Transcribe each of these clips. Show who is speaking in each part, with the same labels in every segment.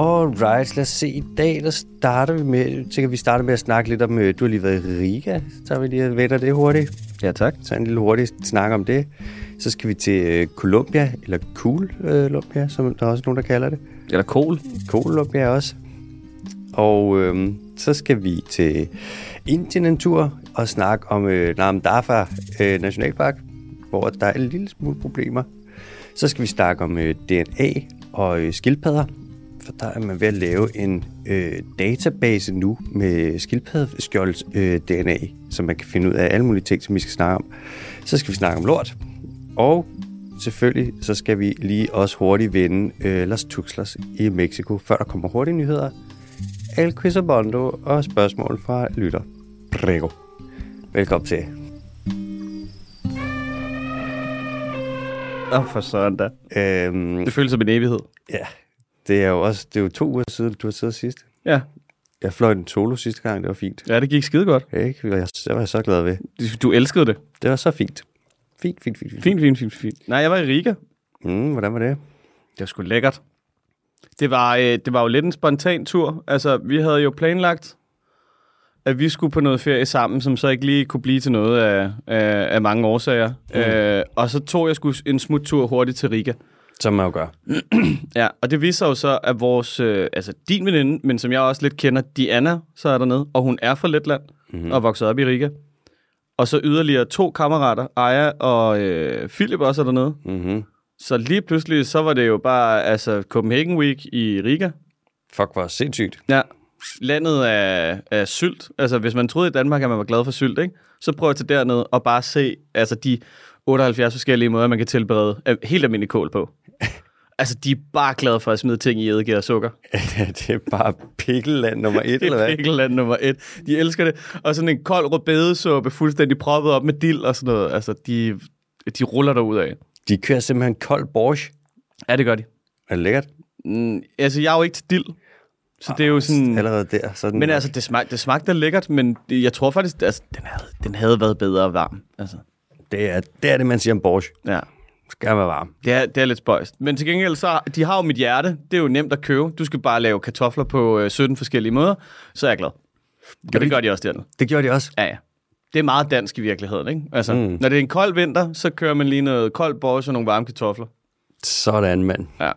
Speaker 1: Alright, lad os se. I dag der starter vi med, så kan vi starte med at snakke lidt om, øh, du har lige været i Riga, så tager vi lige og vender det hurtigt.
Speaker 2: Ja, tak.
Speaker 1: Så en lille hurtig snak om det. Så skal vi til øh, Colombia, eller øh, Colombia, som der er også nogen, der kalder det.
Speaker 2: Eller kol.
Speaker 1: Colombia også. Og øhm, så skal vi til Indien en tur og snakke om øh, Namdafa øh, Nationalpark, hvor der er en lille smule problemer. Så skal vi snakke om øh, DNA og øh, skildpadder, for der er man ved at lave en øh, database nu med skildpaddeskjolds øh, DNA, så man kan finde ud af alle mulige ting, som vi skal snakke om. Så skal vi snakke om lort, og selvfølgelig så skal vi lige også hurtigt vinde øh, Las Tuxlas i Mexico, før der kommer hurtige nyheder. El Quizabondo og spørgsmål fra lytter. Prego. Velkommen til.
Speaker 2: Åh, oh, for sådan da.
Speaker 1: Øhm,
Speaker 2: Det føles som en evighed.
Speaker 1: ja, det er jo også det er jo to uger siden, du har siddet sidst.
Speaker 2: Ja.
Speaker 1: Jeg fløj en solo sidste gang, det var fint.
Speaker 2: Ja, det gik skide godt.
Speaker 1: Ikke? Jeg, jeg var så glad ved.
Speaker 2: Du- Du elskede det.
Speaker 1: Det var så fint. Fint, fint, fint. fint.
Speaker 2: Fint, fint, fint, fint. Nej, jeg var i Riga.
Speaker 1: Mm, hvordan var det?
Speaker 2: Det var sgu lækkert. Det var, øh, det var jo lidt en spontan tur. Altså, vi havde jo planlagt, at vi skulle på noget ferie sammen, som så ikke lige kunne blive til noget af, af, af mange årsager. Mm. Øh, og så tog jeg sgu en smuttur hurtigt til Riga.
Speaker 1: Som man jo gør.
Speaker 2: Ja, og det viser jo så, at vores, øh, altså din veninde, men som jeg også lidt kender, Diana, så er dernede, og hun er fra Letland, mm-hmm. og er vokset op i Riga. Og så yderligere to kammerater, Aja og øh, Philip også er dernede.
Speaker 1: Mm-hmm.
Speaker 2: Så lige pludselig, så var det jo bare, altså, Copenhagen Week i Riga.
Speaker 1: Fuck, hvor sindssygt.
Speaker 2: Ja. Landet af, af sylt. Altså, hvis man troede i Danmark, at man var glad for sylt, ikke? så prøv at tage derned og bare se altså, de 78 forskellige måder, man kan tilberede øh, helt almindelig kål på. altså, de er bare glade for at smide ting i eddike og sukker.
Speaker 1: det er bare pikkelland nummer et, eller hvad?
Speaker 2: Det er land nummer et. De elsker det. Og sådan en kold rødbedesuppe, fuldstændig proppet op med dild og sådan noget. Altså, de, de ruller derud af.
Speaker 1: De kører simpelthen kold borsch.
Speaker 2: Ja, det gør de.
Speaker 1: Er det lækkert?
Speaker 2: Mm, altså, jeg er jo ikke til dild. Så det er jo sådan...
Speaker 1: Allerede der. Sådan
Speaker 2: Men altså, det, smag, det smagte lækkert, men det- jeg tror faktisk, altså, den, havde, den havde været bedre varm. Altså,
Speaker 1: Det er, det er det, man siger om borsch.
Speaker 2: ja.
Speaker 1: Skal være varm.
Speaker 2: Det er, det er lidt spøjst. Men til gengæld, så, de har jo mit hjerte. Det er jo nemt at købe. Du skal bare lave kartofler på øh, 17 forskellige måder, så er jeg glad. Og det gør de også dernede.
Speaker 1: Det gjorde de også.
Speaker 2: Ja, ja. Det er meget dansk i virkeligheden, ikke? Altså, mm. når det er en kold vinter, så kører man lige noget koldt borge og nogle varme kartofler.
Speaker 1: Sådan, mand.
Speaker 2: Ja.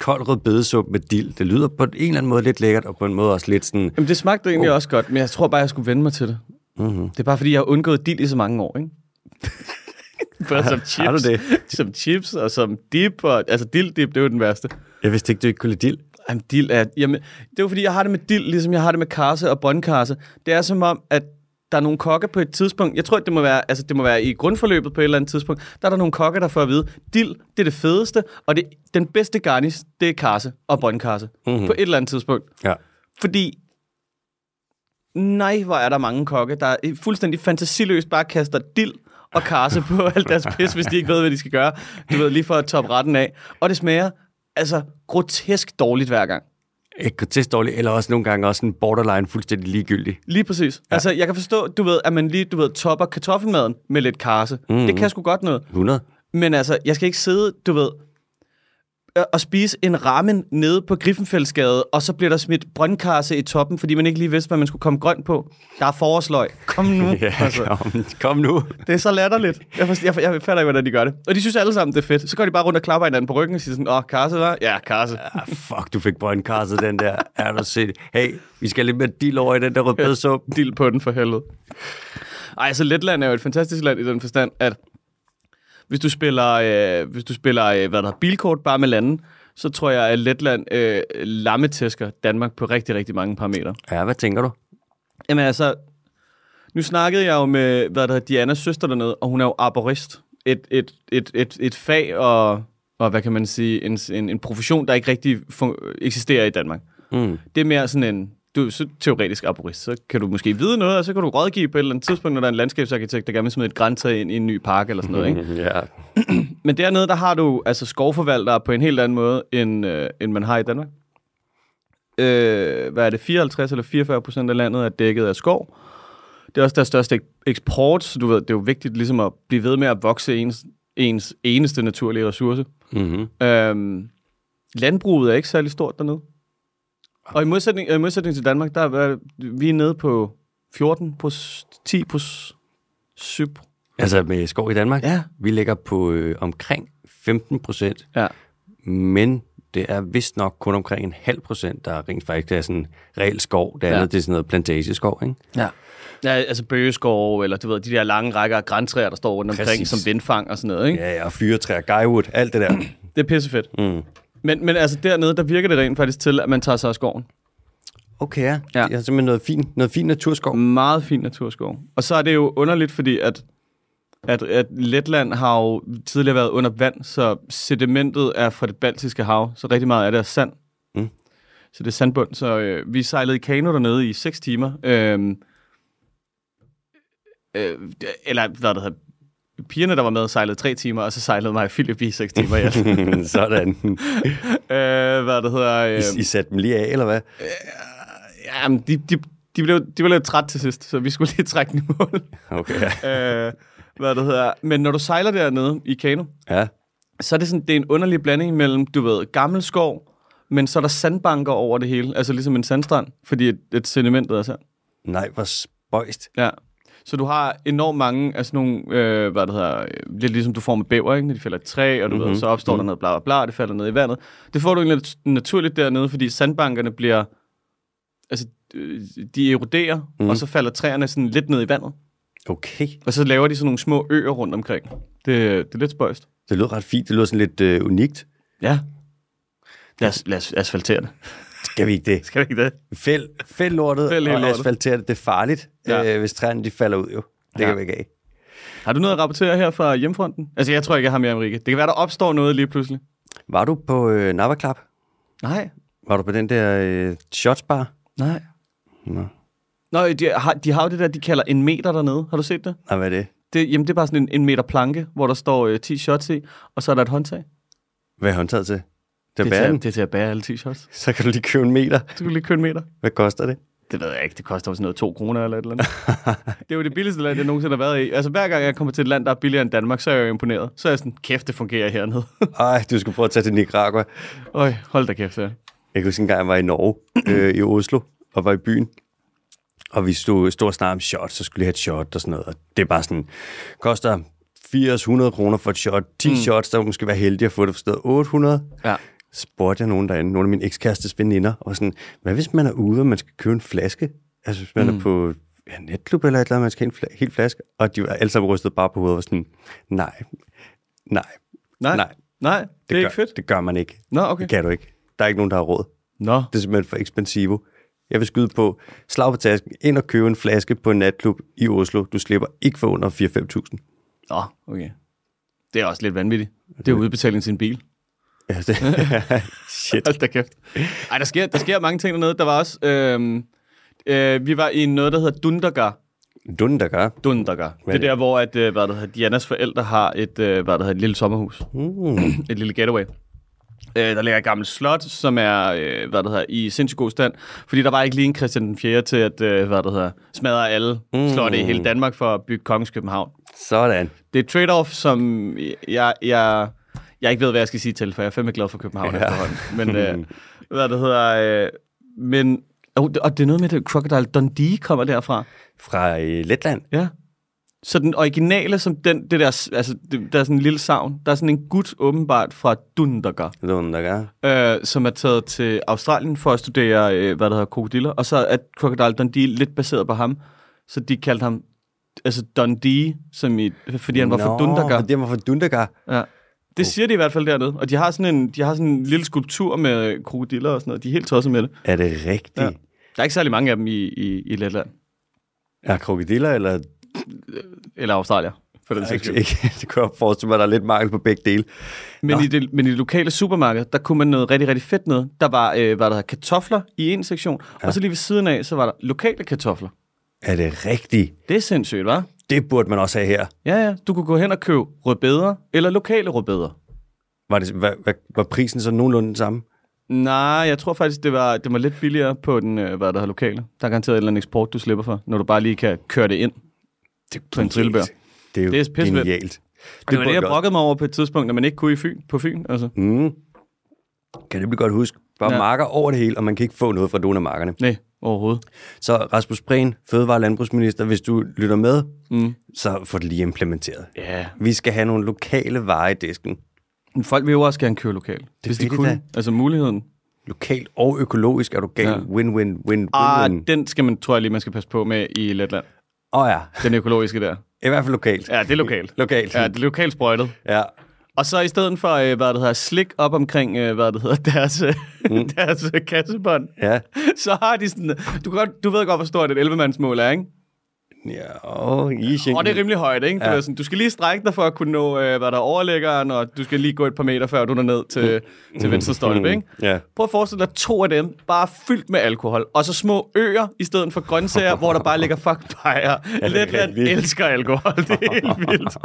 Speaker 1: Kold rødbedesuppe med dild. Det lyder på en eller anden måde lidt lækkert, og på en måde også lidt sådan...
Speaker 2: Jamen, det smagte egentlig også godt, men jeg tror bare, jeg skulle vende mig til det. Mm-hmm. Det er bare, fordi jeg har undgået dild i så mange år, ikke? Både som chips,
Speaker 1: har du det?
Speaker 2: som chips og som dip. Og, altså, dild-dip, det er jo den værste.
Speaker 1: Jeg vidste ikke, du ikke kunne lide dild.
Speaker 2: Jamen, dild er... Jamen, det er jo fordi, jeg har det med dild, ligesom jeg har det med karse og båndkarse. Det er som om, at der er nogle kokke på et tidspunkt, jeg tror, det må være, altså, det må være i grundforløbet på et eller andet tidspunkt, der er der nogle kokke, der får at vide, dild, det er det fedeste, og det, den bedste garnis, det er karse og båndkarse. Mm-hmm. På et eller andet tidspunkt.
Speaker 1: Ja.
Speaker 2: Fordi, nej, hvor er der mange kokke, der fuldstændig fantasiløst bare kaster dild og karse på alt deres pis, hvis de ikke ved, hvad de skal gøre. Du ved, lige for at toppe retten af. Og det smager altså grotesk dårligt hver gang.
Speaker 1: Ikke grotesk dårligt, eller også nogle gange også en borderline fuldstændig ligegyldig.
Speaker 2: Lige præcis. Ja. Altså, jeg kan forstå, du ved, at man lige, du ved, topper kartoffelmaden med lidt karse. Mm-hmm. Det kan sgu godt noget.
Speaker 1: 100?
Speaker 2: Men altså, jeg skal ikke sidde, du ved, øh, og spise en ramen nede på Griffenfeldsgade, og så bliver der smidt brøndkarse i toppen, fordi man ikke lige vidste, hvad man skulle komme grønt på. Der er forårsløg. Kom nu. Altså,
Speaker 1: Ja, kom, kom nu.
Speaker 2: Det er så latterligt. Jeg, forst- jeg, jeg fatter ikke, hvordan de gør det. Og de synes alle sammen, det er fedt. Så går de bare rundt og klapper hinanden på ryggen og siger sådan, åh, karse, hva'? Ja, karse.
Speaker 1: Ah, fuck, du fik brøndkarset den der. Er du set? Hey, vi skal lidt med dild over i den der rødbedesuppe.
Speaker 2: Dil på den for helvede. Ej, så Letland er jo et fantastisk land i den forstand, at hvis du spiller, øh, hvis du spiller øh, hvad der er, bilkort bare med landen, så tror jeg, at Letland øh, lammetæsker Danmark på rigtig, rigtig mange parametre.
Speaker 1: Ja, hvad tænker du?
Speaker 2: Jamen altså, nu snakkede jeg jo med, hvad der hedder, Dianas søster dernede, og hun er jo arborist. Et, et, et, et, et fag og, og, hvad kan man sige, en, en, en profession, der ikke rigtig fun- eksisterer i Danmark.
Speaker 1: Mm.
Speaker 2: Det er mere sådan en, du er så teoretisk arborist, så kan du måske vide noget, og så kan du rådgive på et eller andet tidspunkt, når der er en landskabsarkitekt, der gerne vil smide et græntag ind i en ny park eller
Speaker 1: Mhm.
Speaker 2: sådan noget. Ikke?
Speaker 1: Ja.
Speaker 2: Men dernede, der har du altså skovforvaltere på en helt anden måde, end, øh, end man har i Danmark. Øh, hvad er det, 54 eller 44 procent af landet er dækket af skov. Det er også deres største ek- eksport, så du ved, det er jo vigtigt ligesom at blive ved med at vokse ens, ens eneste naturlige ressource.
Speaker 1: Mm-hmm.
Speaker 2: Øhm, landbruget er ikke særlig stort dernede. Og i modsætning, øh, i modsætning til Danmark, der er vi er nede på 14 på 10 på 7.
Speaker 1: Altså med skov i Danmark?
Speaker 2: Ja.
Speaker 1: Vi ligger på øh, omkring 15 procent,
Speaker 2: Ja.
Speaker 1: men det er vist nok kun omkring en halv procent, der rent faktisk er sådan reel skov. Det
Speaker 2: Ja.
Speaker 1: andet, ja. det er sådan noget plantageskov, ikke?
Speaker 2: Ja. Ja, altså bøgeskov, eller du ved, de der lange rækker af græntræer, der står rundt omkring,
Speaker 1: Præcis.
Speaker 2: som vindfang og sådan noget, ikke?
Speaker 1: Ja, ja, og fyretræer, guywood, alt det der.
Speaker 2: Det er pissefedt.
Speaker 1: Mm.
Speaker 2: Men, men altså dernede, der virker det rent faktisk til, at man tager sig af skoven.
Speaker 1: Okay, ja.
Speaker 2: Ja.
Speaker 1: ja. Det er simpelthen noget fint noget fin naturskov.
Speaker 2: Meget fin naturskov. Og så er det jo underligt, fordi at, at, at Letland har jo tidligere været under vand, så sedimentet er fra det baltiske hav, så rigtig meget af det er sand.
Speaker 1: Mm.
Speaker 2: Så det er sandbund. Så øh, vi sejlede i kano dernede i 6 timer. Øhm, øh, eller hvad det hedder, pigerne, der var med, sejlede 3 timer, og så sejlede mig og Philip i 6 timer. Ja. øh,
Speaker 1: Sådan.
Speaker 2: hvad det hedder... Øh,
Speaker 1: I, I satte dem lige af, eller hvad?
Speaker 2: Ja, men de, de, de, blev, de blev lidt træt til sidst, så vi skulle lige trække den i mål.
Speaker 1: Okay, ja.
Speaker 2: øh, hvad det hedder. Men når du sejler dernede i kano,
Speaker 1: ja.
Speaker 2: så er det sådan, det er en underlig blanding mellem, du ved, gammel skov, men så er der sandbanker over det hele, altså ligesom en sandstrand, fordi et, et sedimentet er sand.
Speaker 1: Nej, hvor spøjst.
Speaker 2: Ja. Så du har enormt mange af sådan nogle, øh, hvad det hedder, øh, lidt ligesom du får med bæver, ikke? Når de falder i et træ, og du mm-hmm. ved, så opstår der noget bla bla bla, og det falder ned i vandet. Det får du egentlig nat- naturligt dernede, fordi sandbankerne bliver, altså øh, de eroderer, mm. og så falder træerne sådan lidt ned i vandet.
Speaker 1: Okay.
Speaker 2: Og så laver de sådan nogle små øer rundt omkring. Det, det er lidt spøjst.
Speaker 1: Det lyder ret fint. Det lyder sådan lidt øh, unikt.
Speaker 2: Ja. Lad os, lad os asfaltere det.
Speaker 1: Skal vi ikke det?
Speaker 2: Kan vi ikke det?
Speaker 1: Fæld, fæld lortet
Speaker 2: Fæld
Speaker 1: fæld
Speaker 2: hele
Speaker 1: og
Speaker 2: lortet.
Speaker 1: asfaltere det. Det er farligt,
Speaker 2: Ja.
Speaker 1: ja. øh, hvis træerne de falder ud jo. Det
Speaker 2: Ja.
Speaker 1: ja. kan vi ikke af.
Speaker 2: Har du noget at rapportere her fra hjemfronten? Altså, jeg tror ikke, jeg har mere, Amerika. Det kan være, der opstår noget lige pludselig.
Speaker 1: Var du på øh, Navaklap?
Speaker 2: Nej,
Speaker 1: Var du på den der øh, shotsbar?
Speaker 2: nej.
Speaker 1: Nå.
Speaker 2: Nå, de har, de har jo det der, de kalder en meter dernede. Har du set det?
Speaker 1: Nej, hvad er det?
Speaker 2: det jamen, det er bare sådan en, en meter planke, hvor der står øh, 10 shots i, og så er der et håndtag.
Speaker 1: Hvad er håndtaget til? Det er
Speaker 2: Det er, til,
Speaker 1: bæren.
Speaker 2: det er til at bære alle 10 shots.
Speaker 1: Så kan du lige købe en meter.
Speaker 2: Så kan du lige købe en meter.
Speaker 1: Hvad koster det?
Speaker 2: Det ved jeg ikke, det koster jo sådan noget 2 kroner eller et eller andet. det er jo det billigste land, jeg nogensinde har været i. Altså, hver gang jeg kommer til et land, der er billigere end Danmark, så er jeg jo imponeret. Så er jeg sådan, kæft, det fungerer hernede.
Speaker 1: Ej, du skulle prøve at tage til Nicaragua.
Speaker 2: Øj, hold da kæft, ja.
Speaker 1: Jeg kan huske en gang, jeg var i Norge, øh, i Oslo, og var i byen. Og vi stod, stod og snakkede om shots, så skulle jeg have et shot og sådan noget. Og det er bare sådan, koster 80-100 kroner for et shot. 10 mm. shots, der måske være heldig at få det for stedet 800.
Speaker 2: Ja.
Speaker 1: Spurgte jeg nogen derinde, nogle af mine ekskærestes veninder, og var sådan, hvad hvis man er ude, og man skal købe en flaske? Altså hvis man mm. er på ja, netklub eller et eller andet, man skal have en fla- hel flaske. Og de var alle sammen rystet bare på hovedet og var sådan, nej, nej,
Speaker 2: Nej,
Speaker 1: Nej.
Speaker 2: nej det, det er
Speaker 1: gør,
Speaker 2: ikke fedt.
Speaker 1: det gør man ikke.
Speaker 2: Nå, okay.
Speaker 1: Det kan du ikke. Der er ikke nogen, der har råd.
Speaker 2: Nå,
Speaker 1: Det er simpelthen for expensivo. Jeg vil skyde på slag på tasken, ind og købe en flaske på en natklub i Oslo. Du slipper ikke for under 4-5.000.
Speaker 2: Nå okay. Det er også lidt vanvittigt. Det er jo udbetaling til en bil.
Speaker 1: Ja, det- Shit.
Speaker 2: Hold da kæft. Ej, der sker, der sker mange ting dernede. Der var også... Øhm, øh, vi var i noget, der hedder Dundergar.
Speaker 1: Dunden, der gør.
Speaker 2: Dundergar. Det er
Speaker 1: er det?
Speaker 2: der, hvor at, øh, hvad det hedder, Dianas forældre har et, øh, hvad det hedder, et lille sommerhus.
Speaker 1: Mm.
Speaker 2: Et lille getaway. Øh, der ligger et gammelt slot, som er øh, hvad det hedder, i sindssygt god stand. Fordi der var ikke lige en Christian den 4. til at øh, hvad det hedder, smadre alle mm. slotte i hele Danmark for at bygge Kongens København.
Speaker 1: Sådan.
Speaker 2: Det er et trade-off, som jeg, jeg, jeg ikke ved, hvad jeg skal sige til, for jeg er fandme glad for København ja. efterhånden. Men øh, hvad det hedder... Øh, men, og, og det er noget med, at Crocodile Dundee kommer derfra.
Speaker 1: Fra øh, Letland.
Speaker 2: Ja. Så den originale, som den, det der, s- altså, det, der er sådan en lille savn, der er sådan en gut åbenbart fra Dundergar,
Speaker 1: Dunden, der gør.
Speaker 2: øh, som er taget til Australien for at studere, øh, hvad der hedder, krokodiller, og så er Crocodile Dundee lidt baseret på ham, så de kaldte ham altså Dundee, som i, fordi han var fra Dundergar.
Speaker 1: Det var fra Dundergar.
Speaker 2: Ja. Det siger de i hvert fald dernede. Og de har sådan en, de har sådan en lille skulptur med øh, krokodiller og sådan noget. De er helt tosset med det.
Speaker 1: Er det rigtigt?
Speaker 2: Ja.
Speaker 1: Ja.
Speaker 2: Der er ikke særlig mange af dem i, i, i Letland.
Speaker 1: Er krokodiller, eller...
Speaker 2: Eller Australien, for den sags
Speaker 1: Ikke,
Speaker 2: skyld.
Speaker 1: ikke, det kunne jeg forestille mig, der er lidt mangel på begge dele.
Speaker 2: Men i, det, men i det lokale supermarked, der kunne man noget rigtig, rigtig fedt noget. Der var, øh, hvad der hedder, kartofler i en sektion. Ja. Og så lige ved siden af, så var der lokale kartofler.
Speaker 1: Er det rigtigt?
Speaker 2: Det er sindssygt, hva'?
Speaker 1: Det burde man også have her.
Speaker 2: Ja, ja. Du kunne gå hen og købe rødbeder eller lokale rødbeder.
Speaker 1: Var, det, var, var, var prisen så nogenlunde den samme?
Speaker 2: Nej, jeg tror faktisk, det var, det var lidt billigere på den, øh, hvad der hedder, lokale. Der er garanteret et eller andet eksport, du slipper for, når du bare lige kan køre det ind.
Speaker 1: Det
Speaker 2: På en trillebør.
Speaker 1: Det er jo
Speaker 2: Det er
Speaker 1: det er
Speaker 2: pissevædt.
Speaker 1: genialt.
Speaker 2: Det var
Speaker 1: burde
Speaker 2: det, jeg Mm.
Speaker 1: også-
Speaker 2: brokkede mig over på et tidspunkt, når man ikke kunne i Fyn, på Fyn. Altså.
Speaker 1: Mm. kan nemlig godt huske, var ja.
Speaker 2: Ja.
Speaker 1: marker over det hele, og man kan ikke få noget fra nogen af markerne.
Speaker 2: Nej, overhovedet.
Speaker 1: Så Rasmus Prehn, fødevare- og landbrugsminister, hvis du lytter med, mm. så få det lige implementeret.
Speaker 2: Ja.
Speaker 1: Vi skal have nogle lokale varer i disken.
Speaker 2: Men folk vil jo også gerne køre lokalt. Det hvis de
Speaker 1: vil de
Speaker 2: kunne.
Speaker 1: da.
Speaker 2: Altså muligheden.
Speaker 1: Lokalt og økologisk er du gal.
Speaker 2: Ja.
Speaker 1: Win-win-win-win.
Speaker 2: Ah,
Speaker 1: Åh
Speaker 2: den skal man, tror jeg lige, man skal passe på med i Letland.
Speaker 1: oh, ja,
Speaker 2: Den økologiske der.
Speaker 1: i hvert fald lokalt.
Speaker 2: Ja, det er lokalt.
Speaker 1: Lokalt.
Speaker 2: Ja, det er lokalt sprøjtet.
Speaker 1: Ja.
Speaker 2: Og så i stedet for, øh, hvad det hedder, slik op omkring, øh, hvad det hedder, deres, mm. deres øh, kassebånd,
Speaker 1: Ja.
Speaker 2: så har de sådan, du, kan godt, du ved godt, hvor stort et 11-mandsmål er, ikke?
Speaker 1: Ja, og Yixing.
Speaker 2: Og det er rimelig højt, ikke? Du,
Speaker 1: Ja.
Speaker 2: ja. sådan, du skal lige strække dig for at kunne nå, øh, hvad der er overlæggeren, og du skal lige gå et par meter, før du når ned til, til venstre stolpe, ikke?
Speaker 1: Mm. Ja.
Speaker 2: Prøv at forestille dig to af dem, bare fyldt med alkohol, og så små øer i stedet for grøntsager, hvor der bare ligger fuck bajer. Ja, Letland
Speaker 1: rigtigt.
Speaker 2: elsker alkohol, det er helt vildt.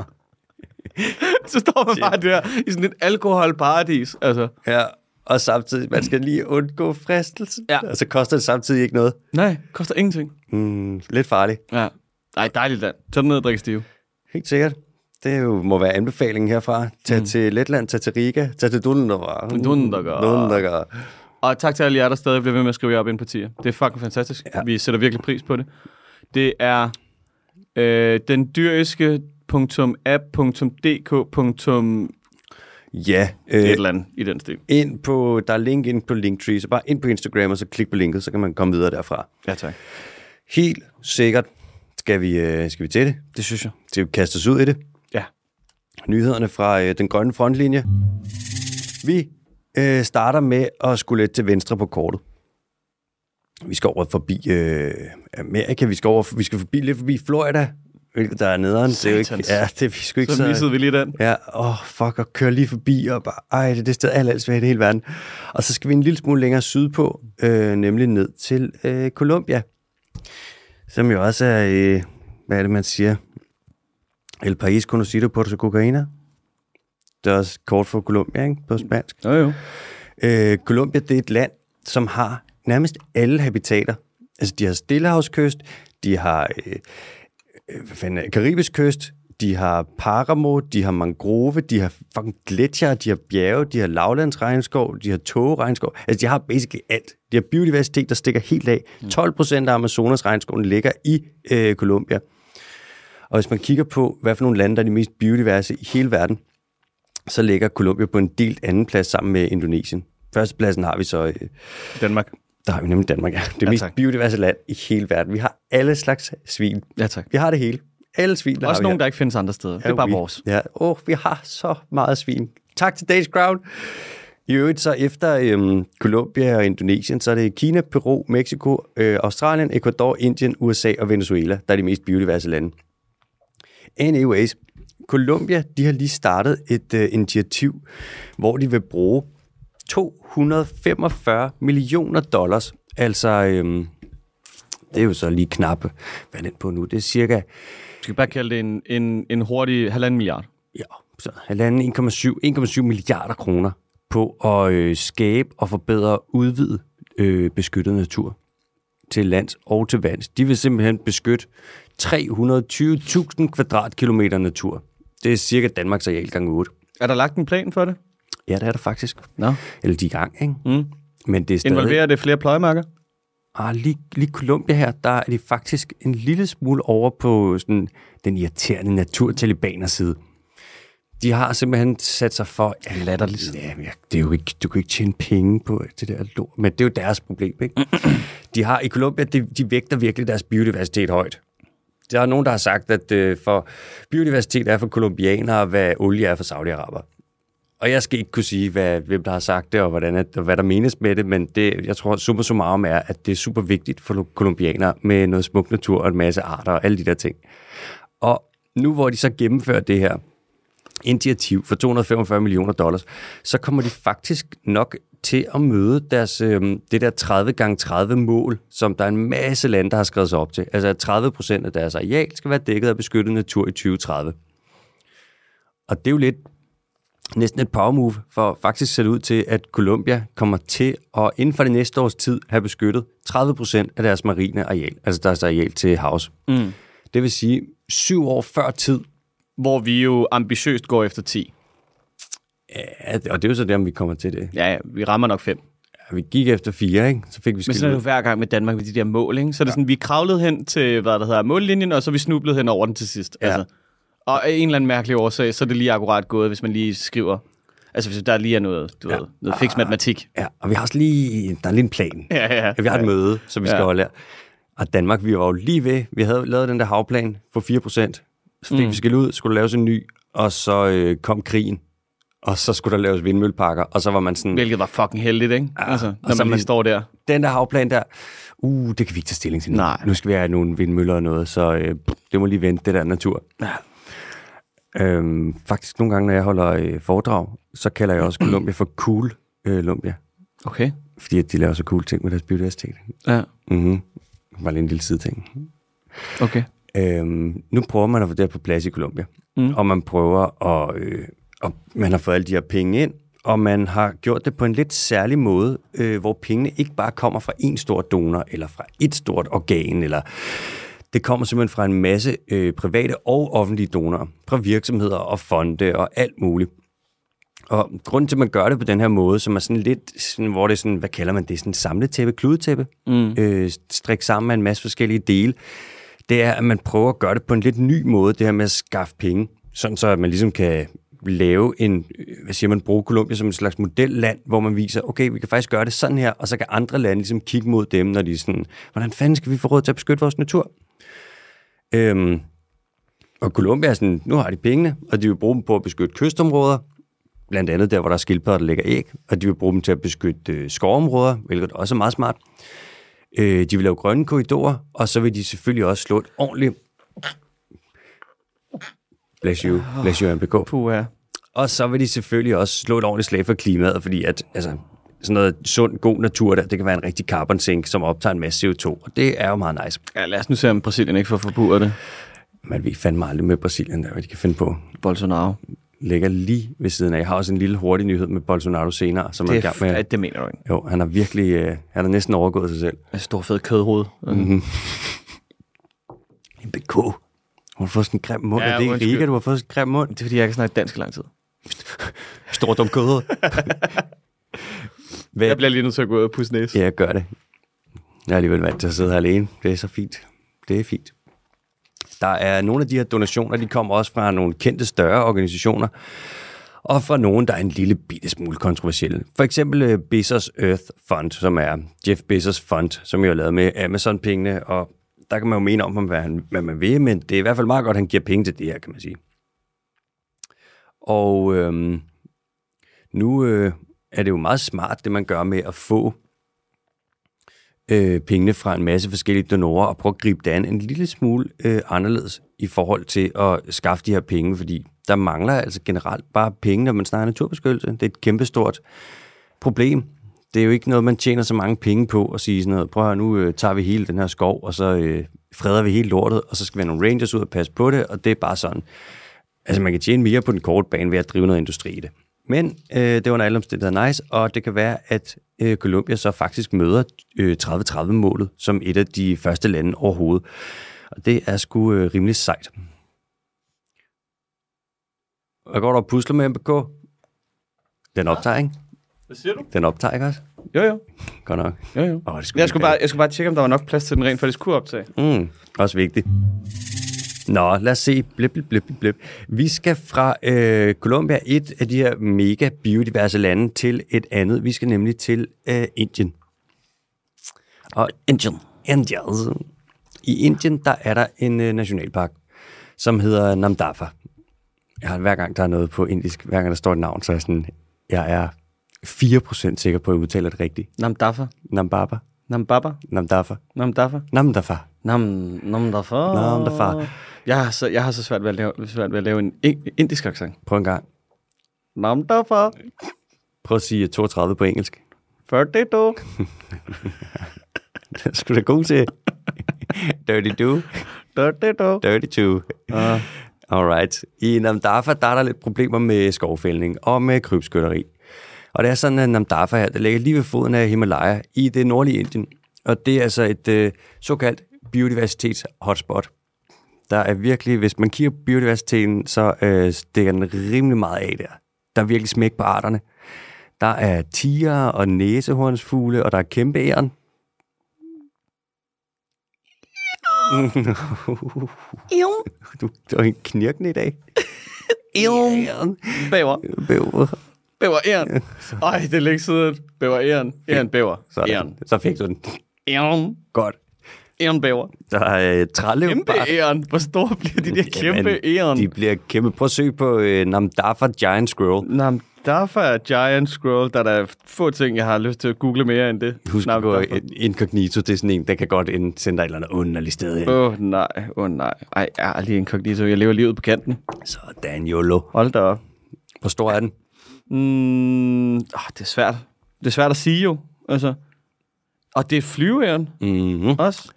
Speaker 2: så står man bare der i sådan et alkoholparadis, altså.
Speaker 1: ja. Og samtidig, man skal lige undgå fristelsen.
Speaker 2: Ja.
Speaker 1: Og så koster det samtidig ikke noget.
Speaker 2: Nej, koster ingenting.
Speaker 1: Mm, lidt farligt.
Speaker 2: Ja. Nej, dejligt land. Tag den ned og drik stiv.
Speaker 1: Helt sikkert. Det jo, må være anbefalingen herfra. Tag mm. til Letland, tag til Riga, tag til Dundergaard.
Speaker 2: Dundergaard.
Speaker 1: Dundergaard.
Speaker 2: Og tak til alle jer, der stadig bliver ved med at skrive jer op ind på tier. Det er fucking fantastisk.
Speaker 1: Ja.
Speaker 2: Ja. Vi sætter virkelig pris på det. Det er øh, den dyriske
Speaker 1: Ja,
Speaker 2: et
Speaker 1: øh,
Speaker 2: eller andet i den stil.
Speaker 1: ind på, der er link ind på Linktree, så bare ind på Instagram, og så klik på linket, så kan man komme videre derfra.
Speaker 2: Ja, tak.
Speaker 1: Helt sikkert skal vi, øh, skal vi til det.
Speaker 2: Det synes jeg.
Speaker 1: Skal vi kaste os ud i det.
Speaker 2: Ja.
Speaker 1: Nyhederne fra øh, den grønne frontlinje. Vi øh, starter med at skulle lidt til venstre på kortet. Vi skal over forbi øh, Amerika, vi skal, over, vi skal forbi, lidt forbi Florida, hvilket der er nederen. Det er jo ikke,
Speaker 2: Satans.
Speaker 1: ja, det er vi sgu ikke
Speaker 2: Så missede vi lige den.
Speaker 1: Ja, åh, oh, fuck, og kører lige forbi, og bare, ej, det er det sted, alt alt svært i hele verden. Og så skal vi en lille smule længere sydpå, øh, nemlig ned til øh, Colombia, som jo også er, øh, hvad er det, man siger? El país conocido por su cocaína. Det er også kort for Colombia, ikke? På spansk.
Speaker 2: Jo, jo.
Speaker 1: Øh, Colombia, det er et land, som har nærmest alle habitater. Altså, de har Stillehavskyst, de har øh, øh, hvad fanden, er det, Karibisk kyst, de har paramo, de har mangrove, de har fucking gletsjer, de har bjerge, de har lavlandsregnskov, de har tågeregnskov. Altså, de har basically alt. De har biodiversitet, der stikker helt af. 12 procent af Amazonas regnskoven ligger i øh, Colombia. Og hvis man kigger på, hvad for nogle lande, der er de mest biodiverse i hele verden, så ligger Colombia på en delt anden plads sammen med Indonesien. Førstepladsen har vi så, øh,
Speaker 2: Danmark.
Speaker 1: der har vi nemlig Danmark, ja. det ja, mest
Speaker 2: tak.
Speaker 1: biodiverse land i hele verden. Vi har alle slags svin.
Speaker 2: Ja, tak.
Speaker 1: Vi har det hele. Alle svin, der
Speaker 2: Også
Speaker 1: har vi
Speaker 2: nogen, der ikke findes andre steder. Det
Speaker 1: her.
Speaker 2: er bare
Speaker 1: vi,
Speaker 2: vores.
Speaker 1: Ja, åh, vi har så meget svin. Tak til Days Crown. I øvrigt så efter øhm, Colombia og Indonesien, så er det Kina, Peru, Mexico, øh, Australien, Ecuador, Indien, USA og Venezuela, der er de mest biodiverse lande. Anyways, Colombia, de har lige startet et øh, initiativ, hvor de vil bruge 245 millioner dollars. Altså, øhm, det er jo så lige knap, hvad er den på nu? Det er cirka
Speaker 2: Vi skal bare kalde det en, en, en hurtig halvanden milliard.
Speaker 1: ja, så halvanden 1,7 1,7 milliarder kroner på at øh, skabe og forbedre og udvide øh, beskyttet natur til lands og til vands. De vil simpelthen beskytte 320.000 kvadratkilometer natur. Det er cirka Danmarks areal gange 8.
Speaker 2: Er der lagt en plan for det?
Speaker 1: Ja, det er der faktisk.
Speaker 2: Nå.
Speaker 1: Eller de er i gang, ikke? Mm. Men det er stadig...
Speaker 2: Involverer det flere pløjemarker?
Speaker 1: Ah, lige, lige Columbia her, der er de faktisk en lille smule over på sådan, den irriterende naturtalibaners side. De har simpelthen sat sig for... Ja, latterligt. Ja, men jeg- det er jo ikke, du kan ikke tjene penge på det der lort, men det er jo deres problem, ikke? De har i Colombia, de, de vægter virkelig deres biodiversitet højt. Der er nogen, der har sagt, at øh, for biodiversitet er for kolumbianere, hvad olie er for saudiaraber. Og jeg skal ikke kunne sige, hvad, hvem der har sagt det, og, hvordan, at, og hvad der menes med det, men det, jeg tror, summa summarum er, at det er super vigtigt for kolumbianere med noget smuk natur og en masse arter og alle de der ting. Og nu hvor de så gennemfører det her initiativ for 245 millioner dollars, så kommer de faktisk nok til at møde deres, øh, det der 30 gange 30 mål, som der er en masse lande, der har skrevet sig op til. Altså at 30 procent af deres areal skal være dækket af beskyttet natur i 2030. Og det er jo lidt næsten et power move, for faktisk ser det ud til, at Colombia kommer til at inden for det næste års tid have beskyttet 30% af deres marine areal, altså deres areal til havs. Mm. Det vil sige, syv år før tid,
Speaker 2: Hvor vi jo ambitiøst går efter 10.
Speaker 1: Ja, og det er jo så det, om vi kommer til det.
Speaker 2: Ja, ja, vi rammer nok fem.
Speaker 1: Ja, vi gik efter fire, ikke? Så fik vi
Speaker 2: Men sådan er det jo
Speaker 1: skilt
Speaker 2: hver gang med Danmark med de der mål, ikke? Så er det sådan, vi kravlede hen til, hvad der hedder, mållinjen, og så vi snublede hen over den til sidst.
Speaker 1: Ja.
Speaker 2: Altså. Og af en eller anden mærkelig årsag, så er det lige akkurat gået, hvis man lige skriver... Altså, hvis der lige er noget, du ja. ved, noget fix matematik.
Speaker 1: Ja, og vi har også lige... Der er lige en plan.
Speaker 2: Ja, ja, ja.
Speaker 1: Vi har et møde, som vi skal
Speaker 2: Ja.
Speaker 1: holde her. Og Danmark, vi var jo lige ved. Vi havde lavet den der havplan for 4 procent. Så fik mm. vi skal ud, skulle laves en ny, og så øh, kom krigen. Og så skulle der laves vindmølleparker, og så var man sådan...
Speaker 2: Hvilket var fucking heldigt, ikke? Altså, når
Speaker 1: så
Speaker 2: man lige
Speaker 1: man-
Speaker 2: står der.
Speaker 1: den der havplan der, uh, det kan vi ikke tage stilling til nu.
Speaker 2: Nej.
Speaker 1: Nu skal vi have nogle vindmøller og noget, så øh, det må lige vente, det der natur.
Speaker 2: Ja.
Speaker 1: Øhm, faktisk nogle gange, når jeg holder øh, foredrag, så kalder jeg også Columbia for cool øh, Columbia,
Speaker 2: Okay.
Speaker 1: fordi at de laver så cool ting med deres biodiversitet.
Speaker 2: Ja,
Speaker 1: Mm-hmm. Bare lige en lille side ting.
Speaker 2: okay.
Speaker 1: Øhm, nu prøver man at få det her på plads i Colombia. Mm. Og man prøver at... Øh, og man har fået alle de her penge ind, og man har gjort det på en lidt særlig måde, øh, hvor pengene ikke bare kommer fra en stor donor, eller fra et stort organ, eller... Det kommer simpelthen fra en masse øh, private og offentlige donorer, fra virksomheder og fonde og alt muligt. Og grunden til, at man gør det på den her måde, som er sådan lidt, sådan, hvor det er sådan, hvad kalder man det, sådan samletæppe, kludetæppe, mm. øh, strik sammen af en masse forskellige dele, det er, at man prøver at gøre det på en lidt ny måde, det her med at skaffe penge, sådan så at man ligesom kan lave en, øh, hvad siger man, bruge Colombia som en slags modelland, hvor man viser, okay, vi kan faktisk gøre det sådan her, og så kan andre lande ligesom kigge mod dem, når de er sådan, hvordan fanden skal vi få råd til at beskytte vores natur? Øhm, og Colombia er sådan, nu har de pengene, og de vil bruge dem på at beskytte kystområder, blandt andet der, hvor der er skildpadder, der lægger æg, og de vil bruge dem til at beskytte øh, skovområder, hvilket også er meget smart. Øh, de vil lave grønne korridorer, og så vil de selvfølgelig også slå et ordentligt... Bless you, bless you MPK.
Speaker 2: Puh, ja.
Speaker 1: Og så vil de selvfølgelig også slå et ordentligt slag for klimaet, fordi at, altså, sådan noget sund, god natur der, det kan være en rigtig carbon sink, som optager en masse CO2, og det er jo meget nice.
Speaker 2: Ja, lad os nu se, om Brasilien ikke får forbudt det.
Speaker 1: Man ved fandme aldrig med Brasilien, der, hvad de kan finde på.
Speaker 2: Bolsonaro.
Speaker 1: Ligger lige ved siden af. Jeg har også en lille hurtig nyhed med Bolsonaro senere, som er i
Speaker 2: Det,
Speaker 1: gang
Speaker 2: er,
Speaker 1: med...
Speaker 2: ja, det mener du ikke. Altså,
Speaker 1: Jo, han har virkelig, øh, han har næsten overgået sig selv.
Speaker 2: Et stort fed kødhoved. Mm-hmm.
Speaker 1: En BK. Hun har fået sådan en grim mund.
Speaker 2: Ja,
Speaker 1: Ja, er det ikke
Speaker 2: undskyld.
Speaker 1: Riga, du har fået sådan en grim mund?
Speaker 2: Det er, fordi jeg ikke snakker dansk i lang tid.
Speaker 1: Stor dum kød. Hvad?
Speaker 2: Jeg bliver lige nødt til at gå ud og pusse næse.
Speaker 1: Ja, jeg gør det. Jeg er alligevel vant til at sidde her alene. Det er så fint. Det er fint. Der er nogle af de her donationer, de kommer også fra nogle kendte større organisationer, og fra nogen, der er en lille bitte smule kontroversielle. For eksempel øh, Bezos Earth Fund, som er Jeff Bezos Fund, som jeg har lavet med Amazon-pengene, og der kan man jo mene om, hvad, han, hvad man vil, men det er i hvert fald meget godt, at han giver penge til det her, kan man sige. Og øhm, nu øh, er det jo meget smart, det man gør med at få øh, pengene fra en masse forskellige donorer og prøve at gribe det an en lille smule øh, anderledes i forhold til at skaffe de her penge, fordi der mangler altså generelt bare penge, når man snakker naturbeskyttelse. Det er et kæmpestort problem. Det er jo ikke noget, man tjener så mange penge på at sige sådan noget, prøv at høre, nu øh, tager vi hele den her skov, og så øh, freder vi hele lortet, og så skal vi have nogle rangers ud og passe på det, og det er bare sådan. Altså, man kan tjene mere på den korte bane ved at drive noget industri i det. Men øh, det var under alle omstændigheder nice, og det kan være, at øh, Colombia så faktisk møder øh, 30-30-målet som et af de første lande overhovedet. Og det er sgu øh, rimelig sejt. Hvad går der og pusler med MBK? Den optager, ikke?
Speaker 2: Hvad siger du?
Speaker 1: Den optager, ikke også?
Speaker 2: Jo, jo.
Speaker 1: Godt nok.
Speaker 2: jo, jo.
Speaker 1: Åh, det skulle
Speaker 2: Jeg skulle, bare, jeg skulle bare tjekke, om der var nok plads til den rent faktisk kunne optage.
Speaker 1: Mm, også vigtigt. Nå, lad os se. Blip, blip, blip, blip, blip. Vi skal fra øh, Colombia, et af de her mega biodiverse lande, til et andet. Vi skal nemlig til øh, Indien. Og Indien. Indien. I Indien, der er der en øh, nationalpark, som hedder Namdapa. Jeg har, hver gang der er noget på indisk, hver gang der står et navn, så er jeg sådan, jeg er 4% sikker på, at jeg udtaler det rigtigt.
Speaker 2: Namdafa.
Speaker 1: Nambaba.
Speaker 2: Nambaba.
Speaker 1: Namdafa.
Speaker 2: Namdafa.
Speaker 1: Namdafa.
Speaker 2: Nam, namdafa.
Speaker 1: Namdafa.
Speaker 2: Jeg har så, jeg har så svært, ved at lave, svært ved at lave en in- indisk accent.
Speaker 1: Prøv en gang.
Speaker 2: Namdafa.
Speaker 1: Prøv at sige 32 på engelsk.
Speaker 2: 42.
Speaker 1: Det er sgu da god til. 32.
Speaker 2: 32.
Speaker 1: 32.
Speaker 2: Ah.
Speaker 1: Alright. I Namdafa, der er der lidt problemer med skovfældning og med krybskytteri. Og det er sådan, at Namdafa her, der ligger lige ved foden af Himalaya i det nordlige Indien. Og det er altså et øh, såkaldt biodiversitets-hotspot. Der er virkelig, hvis man kigger på biodiversiteten, så øh, stikker den rimelig meget af der. Der er virkelig smæk på arterne. Der er tiger og næsehornsfugle, og der er kæmpe æren.
Speaker 2: Ew.
Speaker 1: Du, du er en knirkende i dag.
Speaker 2: Ew.
Speaker 1: Æren.
Speaker 2: Bæver.
Speaker 1: Bæver.
Speaker 2: Bæver æren. Ej, det er længe siden. Bæver æren. Æren bæver. Æren.
Speaker 1: Sådan. Så fik du den.
Speaker 2: Æren.
Speaker 1: Godt.
Speaker 2: Æren bæver.
Speaker 1: Der er øh, træløb.
Speaker 2: Kæmpe æren. Hvor store bliver de der kæmpe æren?
Speaker 1: De bliver kæmpe. Prøv at søge på øh, Namdafa Giant Squirrel.
Speaker 2: Nå, men derfor er Giant Scroll, der er der få ting, jeg har lyst til at google mere end det.
Speaker 1: Husk
Speaker 2: Nå,
Speaker 1: at
Speaker 2: men
Speaker 1: gå
Speaker 2: derfor-
Speaker 1: øh, incognito. Det er sådan en, der kan godt ind- sende dig et eller andet underligt sted hen.
Speaker 2: Åh oh, nej, åh oh, nej. Ej, jeg er lige inkognito. Jeg lever livet på kanten.
Speaker 1: Sådan, YOLO.
Speaker 2: Hold da op.
Speaker 1: Hvor stor er den?
Speaker 2: Mm, oh, det er svært. Det er svært at sige jo. Altså. Og det er flyveæren
Speaker 1: Mm-hmm.
Speaker 2: også.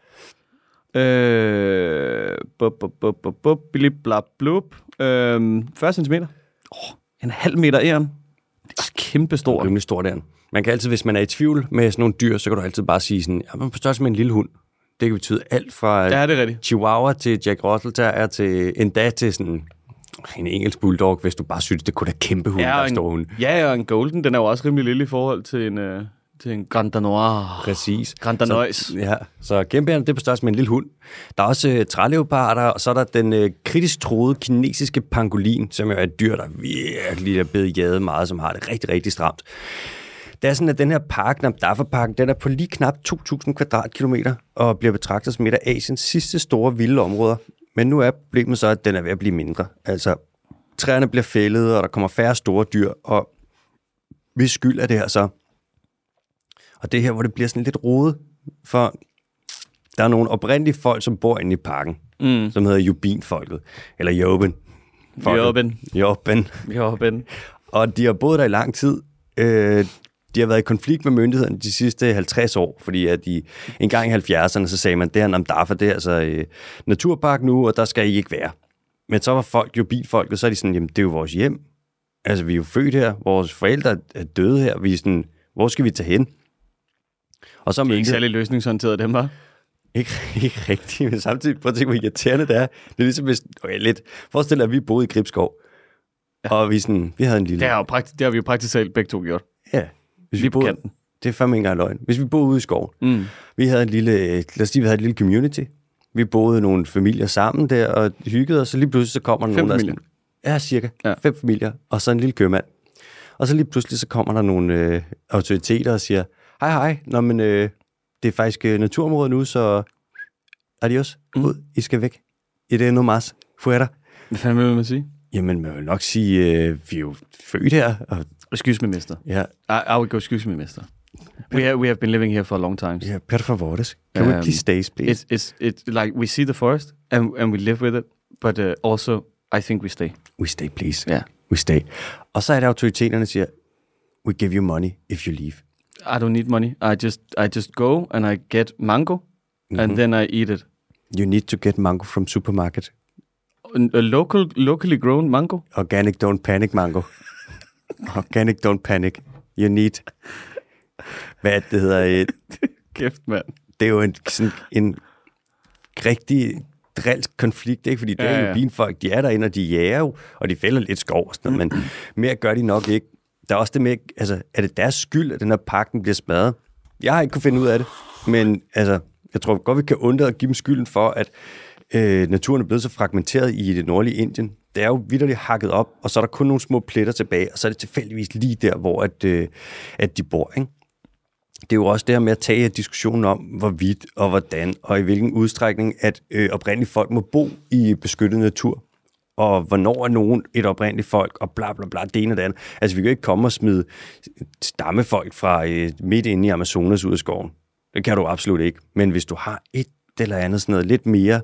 Speaker 2: Øh, bup, bup, bup, bup, bup, bili, bla, blup. Øhm, 40 cm. Oh, en halv meter æren. Det er også kæmpestor.
Speaker 1: Rimelig stor der. Man kan altid, hvis man er i tvivl med sådan nogle dyr, så kan du altid bare sige sådan, ja, man er på størrelse med en lille hund. Det kan betyde alt fra øh,
Speaker 2: Ja,
Speaker 1: ja.
Speaker 2: det er rigtigt.
Speaker 1: Chihuahua til Jack Russell Terrier til endda til sådan en engelsk bulldog, hvis du bare synes, det kunne da kæmpe hunde, ja, der
Speaker 2: Ja,
Speaker 1: er store
Speaker 2: og
Speaker 1: hunde.
Speaker 2: en, ja, og en golden, den er jo også rimelig lille i forhold til en, øh, til en Grand Danois.
Speaker 1: Præcis.
Speaker 2: Grand Danois.
Speaker 1: Så, ja, så kæmpehæren, det er på størrelse med en lille hund. Der er også øh, træleoparder, og så er der den øh, kritisk troede kinesiske pangolin, som jo er et dyr, der virkelig er blevet jaget meget, som har det rigtig, rigtig stramt. Det er sådan, at den her park, Namdafa-parken, den er på lige knap 2.000 kvadratkilometer og bliver betragtet som et af Asiens sidste store vilde områder. Men nu er problemet så, at den er ved at blive mindre. Altså, træerne bliver fældet, og der kommer færre store dyr, og hvis skyld er det her så? Og det er her, hvor det bliver sådan lidt rodet, for der er nogle oprindelige folk, som bor inde i parken, mm. som hedder Jubin-folket, eller Joben.
Speaker 2: Jobben.
Speaker 1: Joben.
Speaker 2: Jobben.
Speaker 1: Og de har boet der i lang tid. Øh, de har været i konflikt med myndighederne de sidste 50 år, fordi at de en gang i 70'erne, så sagde man, det her Namdafa, det er altså øh, naturpark nu, og der skal I ikke være. Men så var folk jo bilfolket, så er de sådan, jamen det er jo vores hjem. Altså vi er jo født her, vores forældre er døde her, vi er sådan, hvor skal vi tage hen? Og så
Speaker 2: Det er ikke
Speaker 1: myndighederne-
Speaker 2: særlig løsningsorienteret, dem her.
Speaker 1: ikke, ikke rigtigt, men samtidig, prøv at tænke, hvor irriterende det er. Det er ligesom, hvis, okay, lidt, forestil dig, at vi boede i Gribskov, ja. og vi, sådan, vi havde en lille...
Speaker 2: Det har, jo praktisk, det har vi jo praktisk talt begge to gjort.
Speaker 1: Ja, hvis vi,
Speaker 2: Lige på
Speaker 1: boede,
Speaker 2: kanten.
Speaker 1: det er fandme ikke engang løgn. Hvis vi boede ude i skoven, mm. vi havde en lille, øh, lad os sige, vi havde et lille community. Vi boede nogle familier sammen der og hyggede os, så lige pludselig så kommer der
Speaker 2: Fem
Speaker 1: nogen,
Speaker 2: familier.
Speaker 1: der er sådan, ja, cirka. Ja.
Speaker 2: Ja.
Speaker 1: Fem familier, og så en lille købmand. Og så lige pludselig så kommer der nogle øh, autoriteter og siger, hej hej, nå men øh, det er faktisk øh, naturområdet nu, så adios, mm. ud, I skal væk. I det endnu mas, fuera.
Speaker 2: Hvad fanden vil man sige?
Speaker 1: Jamen, man vil nok sige, øh, vi er jo født her, og
Speaker 2: Excuse me, mister.
Speaker 1: ja,
Speaker 2: I, I would go excuse me, mister. We have, we have been living here for a long time.
Speaker 1: ja per favores, can um, we
Speaker 2: Øhm,
Speaker 1: please stay, please?
Speaker 2: It's, it's, it's like, we see the forest, and, and we live with it, but uh, also, I think we stay.
Speaker 1: We stay, please.
Speaker 2: Ja.
Speaker 1: We stay. Og så er det autoriteterne siger, we give you money if you leave.
Speaker 2: I don't need money. I just, I just go, and I get mango, mm-hmm. and then I eat it.
Speaker 1: You need to get mango from supermarket.
Speaker 2: A local, locally grown mango?
Speaker 1: Organic don't panic mango. Organic don't panic. You need... Hvad er det, det hedder? øh,
Speaker 2: Kæft, mand.
Speaker 1: Det er jo en, sådan, en rigtig drilsk konflikt, ikke? Fordi det
Speaker 2: Ja,
Speaker 1: er jo
Speaker 2: ja.
Speaker 1: binfolk, de er derinde, og de jager jo, og de fælder lidt skov og sådan noget, men mere gør de nok ikke. Der er også det med, altså, er det deres skyld, at den her pakken bliver smadret? Jeg har ikke kunne finde ud af det, men altså, jeg tror godt, vi kan undre at give dem skylden for, at øh, naturen er blevet så fragmenteret i det nordlige Indien. Det er jo vidderligt hakket op, og så er der kun nogle små pletter tilbage, og så er det tilfældigvis lige der, hvor at, øh, at de bor, ikke? det er jo også det her med at tage diskussionen om, hvorvidt og hvordan, og i hvilken udstrækning, at øh, oprindelige folk må bo i beskyttet natur, og hvornår er nogen et oprindeligt folk, og bla bla bla, det ene og det andet. Altså, vi kan jo ikke komme og smide stammefolk fra øh, midt inde i Amazonas ud af skoven. Det kan du absolut ikke. Men hvis du har et eller andet sådan noget lidt mere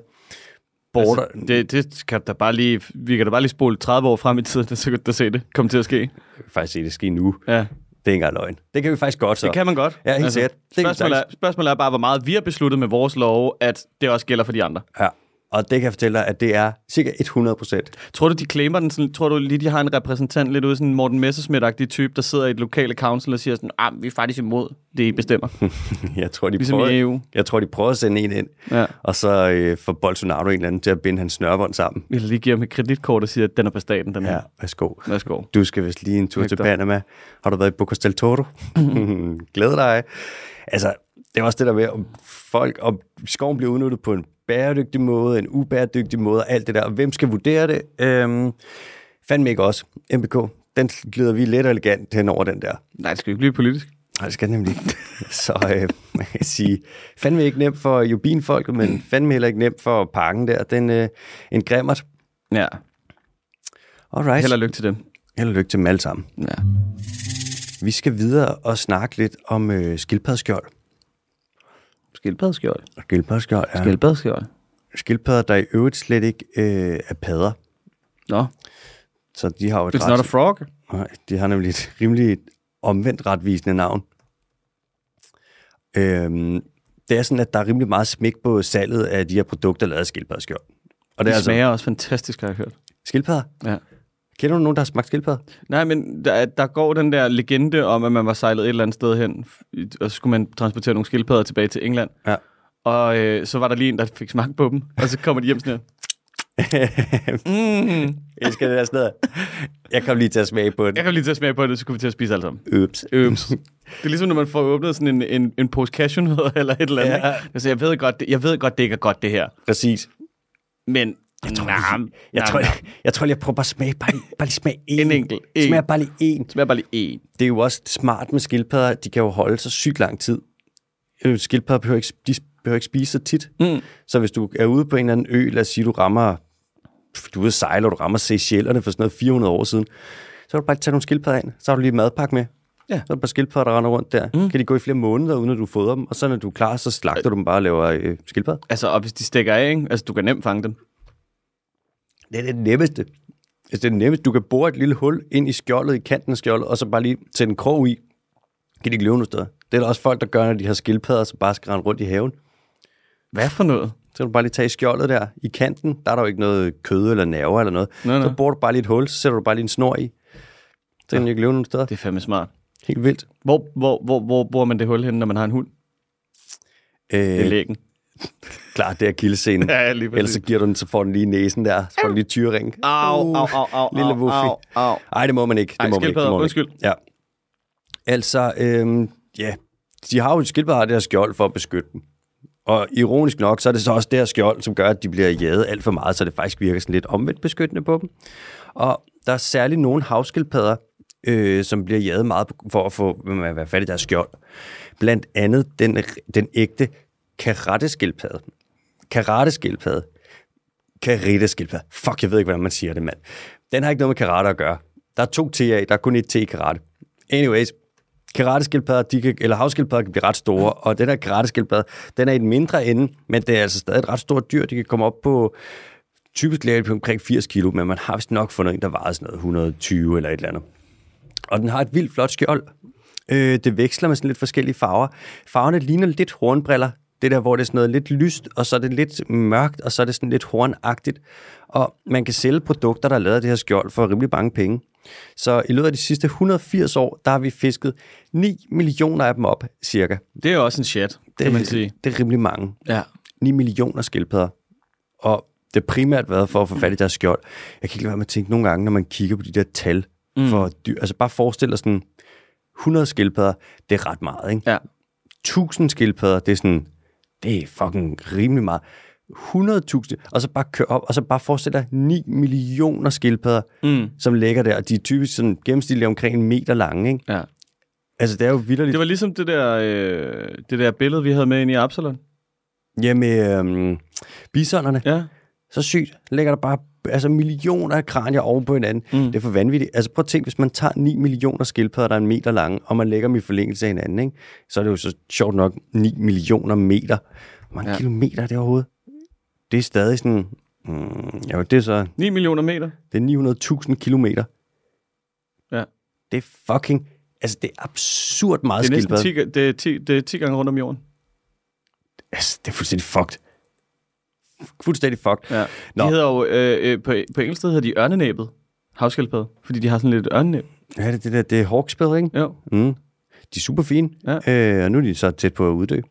Speaker 1: border...
Speaker 2: Altså, det, det kan da bare lige, vi kan da bare lige spole 30 år frem i tiden, så kan du da se det komme til at ske.
Speaker 1: Altså, faktisk se det ske nu. Det
Speaker 2: Ja,
Speaker 1: er ikke engang løgn. Det kan vi faktisk godt så.
Speaker 2: det kan man godt. Altså,
Speaker 1: Ja, helt sikkert. Det kan vi
Speaker 2: spørgsmålet, er, spørgsmålet er bare, hvor meget vi har besluttet med vores lov, at det også gælder for de andre.
Speaker 1: Ja. Og det kan jeg fortælle dig, at det er cirka 100 procent.
Speaker 2: Tror du, de claimer den? Sådan, tror du lige, de har en repræsentant lidt ude, sådan en Morten Messerschmidt-agtig type, der sidder i et lokale council og siger sådan, ah, vi er faktisk imod det, I bestemmer.
Speaker 1: Jeg tror, de
Speaker 2: Ligesom
Speaker 1: prøver,
Speaker 2: i EU.
Speaker 1: Jeg tror, de prøver at sende en ind,
Speaker 2: Ja.
Speaker 1: og så øh, får Bolsonaro en eller anden til at binde hans snørbånd sammen.
Speaker 2: Eller lige giver dem et kreditkort og siger, at den er på staten, den her.
Speaker 1: Ja,
Speaker 2: Ja.
Speaker 1: værsgo.
Speaker 2: Værsgo.
Speaker 1: Du skal vist lige en tur til
Speaker 2: Nægter.
Speaker 1: Panama. Har du været i Bocas del Toro? Glæd dig. Altså, det er også det der med, om folk, om skoven bliver udnyttet på en bæredygtig måde, en ubæredygtig måde, og alt det der. Og hvem skal vurdere det? Øhm, fandme ikke os. MBK, den glider vi let og elegant hen over den der.
Speaker 2: Nej, det skal jo ikke blive politisk.
Speaker 1: Nej, det skal den nemlig ikke. Så øh, man kan sige, fandme ikke nemt for jubinfolket, men fandme heller ikke nemt for parken der. Den øh, en grimmert.
Speaker 2: Ja.
Speaker 1: Alright.
Speaker 2: Held og
Speaker 1: Held
Speaker 2: lykke til dem.
Speaker 1: og lykke til dem alle sammen.
Speaker 2: Ja.
Speaker 1: Vi skal videre og snakke lidt om øh, skildpaddeskjold.
Speaker 2: Skildpaddeskjold.
Speaker 1: Skildpaddeskjold er
Speaker 2: Skildpaddeskjold.
Speaker 1: skildpadder, der i øvrigt slet ikke øh, er padder.
Speaker 2: Nå,
Speaker 1: Så de har jo et
Speaker 2: it's not a frog.
Speaker 1: Nej, de har nemlig et rimelig omvendt retvisende navn. Øhm, det er sådan, at der er rimelig meget smæk på salget af de her produkter, lavet af skildpaddeskjold. Og det
Speaker 2: Det
Speaker 1: er altså
Speaker 2: smager også fantastisk, har jeg hørt.
Speaker 1: skildpadder.
Speaker 2: Ja.
Speaker 1: Kender du nogen, der har smagt skildpadder?
Speaker 2: Nej, men der, der går den der legende om, at man var sejlet et eller andet sted hen, f- og så skulle man transportere nogle skildpadder tilbage til England.
Speaker 1: Ja.
Speaker 2: Og øh, så var der lige en, der fik smagt på dem, og så kommer de hjem sådan her. Mm,
Speaker 1: Jeg elsker det der sådan noget. Jeg kom lige til at smage på
Speaker 2: jeg
Speaker 1: det.
Speaker 2: kan lige til at smage på det, så kunne vi til at spise alle sammen.
Speaker 1: Ups.
Speaker 2: Øps. Det er ligesom, når man får åbnet sådan en, en, en pose cashewnødder eller et eller andet.
Speaker 1: Ja.
Speaker 2: ikke? Altså, jeg ved, godt, det, jeg ved godt, det ikke er godt, det her.
Speaker 1: Præcis.
Speaker 2: Men jeg tror, nah,
Speaker 1: Jeg tror, jeg, jeg tror, jeg prøver bare at smage, bare lige, bare lige smage én.
Speaker 2: En enkelt. En.
Speaker 1: Smag bare lige én.
Speaker 2: smager bare lige én.
Speaker 1: Det er jo også smart med skildpadder, de kan jo holde så sygt lang tid. Øh, Skildpadder behøver ikke, de behøver ikke spise så tit. Mm. Så hvis du er ude på en eller anden ø, lad os sige, du rammer, du er ude at sejle, og du rammer Seychellerne for sådan noget 400 år siden, så kan du bare tage nogle skildpadder ind, så har du lige en madpakke med.
Speaker 2: Ja.
Speaker 1: Så er der bare skildpadder, der render rundt der. Mm. Kan de gå i flere måneder, uden at du fodrer dem, og så når du er klar, så slagter du dem bare og laver øh, skildpadder.
Speaker 2: Altså, og hvis de stikker af, ikke? Altså, du kan nemt fange dem.
Speaker 1: Det er det nemmeste. Altså, det er det nemmeste. Du kan bore et lille hul ind i skjoldet, i kanten af skjoldet, og så bare lige sætte en krog i. Kan de ikke løbe nogen steder? Det er der også folk, der gør, når de har skildpadder, så bare skal rende rundt i haven.
Speaker 2: Hvad for noget?
Speaker 1: Så kan du bare lige tage i skjoldet der. I kanten, der er der jo ikke noget kød eller nerver eller noget.
Speaker 2: Nej, nej.
Speaker 1: Så borer du bare lige et hul, så sætter du bare lige en snor i. Så kan de ikke løbe nogen steder.
Speaker 2: Det er fandme smart.
Speaker 1: Helt vildt.
Speaker 2: Hvor, hvor, hvor, hvor bor man det hul hen, når man har en hund? Det er
Speaker 1: Øh,
Speaker 2: lægen.
Speaker 1: klart, det er kildescenen.
Speaker 2: Ja, ja, lige præcis.
Speaker 1: Ellers så giver du den, så får den lige i næsen der. Så får den lige tyring.
Speaker 2: Au, au, au, au,
Speaker 1: Uh, Lille
Speaker 2: au,
Speaker 1: Wuffy.
Speaker 2: au, au.
Speaker 1: Nej, det må man ikke. Det
Speaker 2: Ej,
Speaker 1: må man ikke. Det
Speaker 2: skildpadder,
Speaker 1: må man
Speaker 2: undskyld.
Speaker 1: Ikke. Ja. Altså, øhm, ja, de har jo skildpadder har det her skjold for at beskytte dem. Og ironisk nok, så er det så også det her skjold, som gør, at de bliver jaget alt for meget, så det faktisk virker sådan lidt omvendt beskyttende på dem. Og der er særligt nogle havskildpadder, øh, som bliver jaget meget på- for at få hvad man- hvad fat i deres skjold. Blandt andet den, den ægte karateskildpadde. Karateskildpadde. Karate-skildpadde. Fuck, jeg ved ikke, hvordan man siger det, mand. Den har ikke noget med karate at gøre. Der er to T'er, der er kun et T i karate. Anyways, karateskildpadder, de kan, eller havskildpadder kan blive ret store, og den her karateskildpadde, den er i den mindre ende, men det er altså stadig et ret stort dyr. De kan komme op på typisk lavet på omkring 80 kilo, men man har vist nok fundet en, der vejede sådan noget 120 eller et eller andet. Og den har et vildt flot skjold. Øh, det veksler med sådan lidt forskellige farver. Farverne ligner lidt hornbriller. Det der, hvor det er sådan noget lidt lyst, og så er det lidt mørkt, og så er det sådan lidt hornagtigt. Og man kan sælge produkter, der er lavet af det her skjold, for rimelig mange penge. Så i løbet af de sidste 180 år, der har vi fisket 9 millioner af dem op, cirka.
Speaker 2: Det er jo også en chat, det, kan man sige.
Speaker 1: Det er rimelig mange.
Speaker 2: Ja.
Speaker 1: 9 millioner skildpadder. Og det har primært været for at få fat i deres skjold. Jeg kan ikke lade være med at tænke nogle gange, når man kigger på de der tal for dyr. Altså bare forestil dig sådan, 100 skildpadder, det er ret meget, ikke?
Speaker 2: ja.
Speaker 1: 1000 skildpadder, det er sådan, det er fucking rimelig meget. 100.000, og så bare køre op, og så bare forestil dig 9 millioner skildpadder, mm. som ligger der, og de er typisk sådan gennemsnitligt omkring en meter lange, ikke?
Speaker 2: ja.
Speaker 1: Altså, det er jo vildt.
Speaker 2: Det var ligesom det der, øh, det der billede, vi havde med ind i Absalon.
Speaker 1: Ja, med øhm, bisonerne.
Speaker 2: Ja.
Speaker 1: Så sygt. Ligger der bare altså millioner af kranier oven på hinanden. Mm. Det er for vanvittigt. Altså prøv at tænke, hvis man tager 9 millioner skildpadder, der er en meter lange, og man lægger dem i forlængelse af hinanden, ikke? så er det jo så sjovt nok 9 millioner meter. Hvor mange
Speaker 2: Ja.
Speaker 1: ja. kilometer er det overhovedet? Det er stadig sådan... Mm, jo, det er så...
Speaker 2: 9 millioner meter.
Speaker 1: Det er 900.000 kilometer.
Speaker 2: Ja.
Speaker 1: Det er fucking... Altså, det er absurd meget
Speaker 2: Det er næsten
Speaker 1: skildpadder.
Speaker 2: 10, ga- det er 10, det er 10 gange rundt om jorden.
Speaker 1: Altså, det er fuldstændig fucked. fuldstændig fucked.
Speaker 2: Ja.
Speaker 1: Nå.
Speaker 2: De hedder jo, øh, øh, på, på engelsk hedder de ørnenæbet. Havskildpadde. Fordi de har sådan lidt ørnenæb.
Speaker 1: Hvad er det, det der? Det er Hawksbill, ikke?
Speaker 2: Jo.
Speaker 1: Mm. De er super fine,
Speaker 2: Ja.
Speaker 1: øh, og nu er de så tæt på at uddø.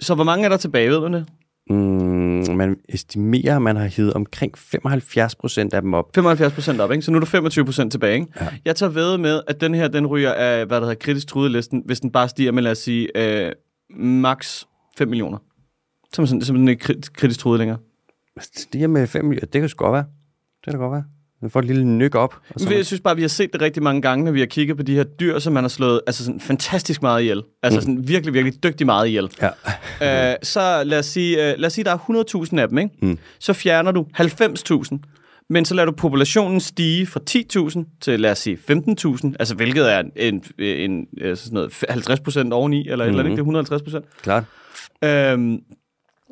Speaker 2: Så hvor mange er der tilbage, ved du det?
Speaker 1: Mm, man estimerer, at man har hivet omkring 75 procent af dem op.
Speaker 2: 75 procent op, ikke? Så nu er der 25 procent tilbage, ikke? Ja. Jeg tager ved med, at den her, den ryger af, hvad der hedder, kritisk trudelisten, hvis den bare stiger med, lad os sige, øh, max 5 millioner. Så er man sådan- så er man ikke kri- kritisk truet længere.
Speaker 1: Altså, Det her med 5 millioner, det kan sgu godt være. Det kan da godt være. Man får et lille nyk op. Og så
Speaker 2: Jeg synes bare, vi har set det rigtig mange gange, når vi har kigget på de her dyr, som man har slået altså sådan fantastisk meget ihjel.
Speaker 1: Mm.
Speaker 2: Altså sådan virkelig, virkelig dygtig meget ihjel.
Speaker 1: ja.
Speaker 2: Øh, så lad os sige, øh, lad os sige der er 100.000 af dem, ikke? Mm. så fjerner du 90.000, men så lader du populationen stige fra 10.000 til lad os sige 15.000, altså hvilket er en, en, en øh, sådan noget 50 procent oveni, eller mm. et eller andet, ikke? det er 150 procent.
Speaker 1: klart.
Speaker 2: Øhm,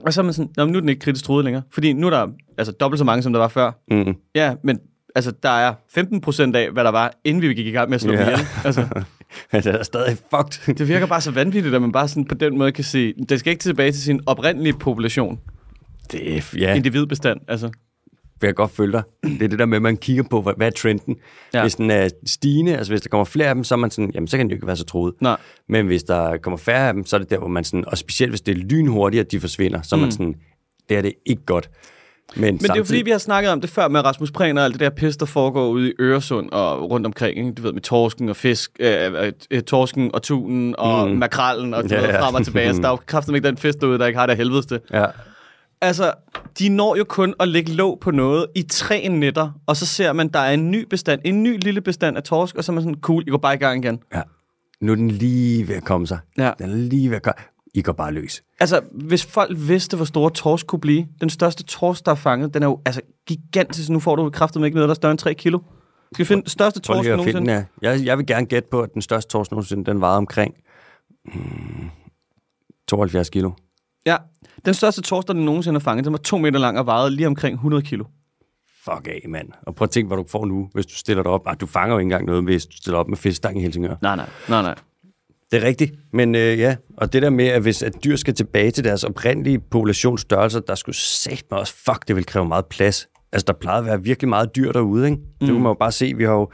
Speaker 2: og så er man sådan, "Nå, men nu er den ikke kritisk troet længere, fordi nu er der altså dobbelt så mange, som der var før.
Speaker 1: Mm.
Speaker 2: Ja, men altså, der er 15 procent af, hvad der var, inden vi gik i gang med at slå
Speaker 1: Ja.
Speaker 2: yeah. ihjel. Altså,
Speaker 1: Men det er stadig fucked.
Speaker 2: det virker bare så vanvittigt, at man bare sådan på den måde kan sige, den skal ikke tilbage til sin oprindelige population
Speaker 1: Det er, ja, det
Speaker 2: individbestand. Altså.
Speaker 1: vil jeg godt følge dig. Det er det der med, at man kigger på, hvad, hvad er trenden. Ja.
Speaker 2: Ja.
Speaker 1: Hvis den er stigende, altså hvis der kommer flere af dem, så er man sådan, jamen så kan den jo ikke være så troet.
Speaker 2: Nej.
Speaker 1: Men hvis der kommer færre af dem, så er det der, hvor man sådan, og specielt hvis det er lynhurtigt, at de forsvinder, så er man sådan, det er det ikke godt. Men, Men
Speaker 2: Mm. Men det er jo fordi, vi har snakket om det før med Rasmus Prehn og alt det der pis, der foregår ude i Øresund og rundt omkring. Ikke? Du ved, med torsken og fisk, øh, øh, øh, torsken og tunen og mm. makrallen og
Speaker 1: Ja,
Speaker 2: yeah.
Speaker 1: ja.
Speaker 2: frem og tilbage. Så der er jo kraftigt ikke den fisk derude, der ikke har det af helvedeste.
Speaker 1: Ja,
Speaker 2: Altså, de når jo kun at lægge låg på noget i tre nætter, og så ser man, der er en ny bestand, en ny lille bestand af torsk, og så er man sådan, cool, I går bare i gang igen.
Speaker 1: ja. Nu er den lige ved at komme sig.
Speaker 2: Ja.
Speaker 1: Den er lige ved at komme. I går bare løs.
Speaker 2: Altså, hvis folk vidste, hvor store torsk kunne blive, den største torsk, der er fanget, den er jo altså gigantisk. Nu får du kraftet ikke noget, der er større end 3 kilo. Du skal finde den største
Speaker 1: Prøv
Speaker 2: torsk
Speaker 1: lige at
Speaker 2: nogensinde.
Speaker 1: finde den her. Jeg, jeg vil gerne gætte på, at den største torsk nogensinde, den vejede omkring hmm, 72 kilo.
Speaker 2: Ja, den største torsk, der den nogensinde har fanget, den var to meter lang og vejede lige omkring 100 kilo.
Speaker 1: Fuck af, mand. Og prøv at tænke, hvad du får nu, hvis du stiller dig op. Ah, du fanger jo ikke engang noget, hvis du stiller op med fiskestang i Helsingør.
Speaker 2: Nej, nej, nej, nej.
Speaker 1: Det er rigtigt, men øh, ja. Og det der med, at hvis at dyr skal tilbage til deres oprindelige populationsstørrelser, der skulle sagt mig også, fuck, det vil kræve meget plads. Altså, der plejede at være virkelig meget dyr derude, ikke? Det kunne man jo bare se. Vi har jo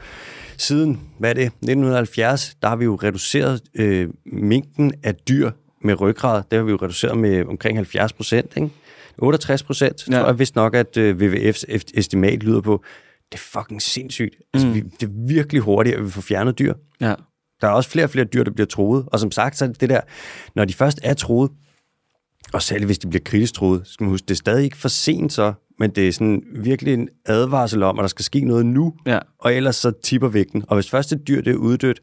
Speaker 1: siden, hvad er det, 1970, der har vi jo reduceret øh, mængden af dyr med ryggrad. Det har vi jo reduceret med omkring 70 procent, ikke? 68 procent, ja.
Speaker 2: Ja.
Speaker 1: tror jeg vist nok, at øh, WWF's eft- estimat lyder på. Det er fucking sindssygt. Altså, vi, det er virkelig hurtigt, at vi får fjernet dyr.
Speaker 2: Ja.
Speaker 1: Der er også flere og flere dyr, der bliver troet. Og som sagt, så er det det der, når de først er troet, og særligt hvis de bliver kritisk troet, så skal man huske, det er stadig ikke for sent så, men det er sådan virkelig en advarsel om, at der skal ske noget nu,
Speaker 2: Ja.
Speaker 1: og ellers så tipper vægten. Og hvis først et dyr det er uddødt,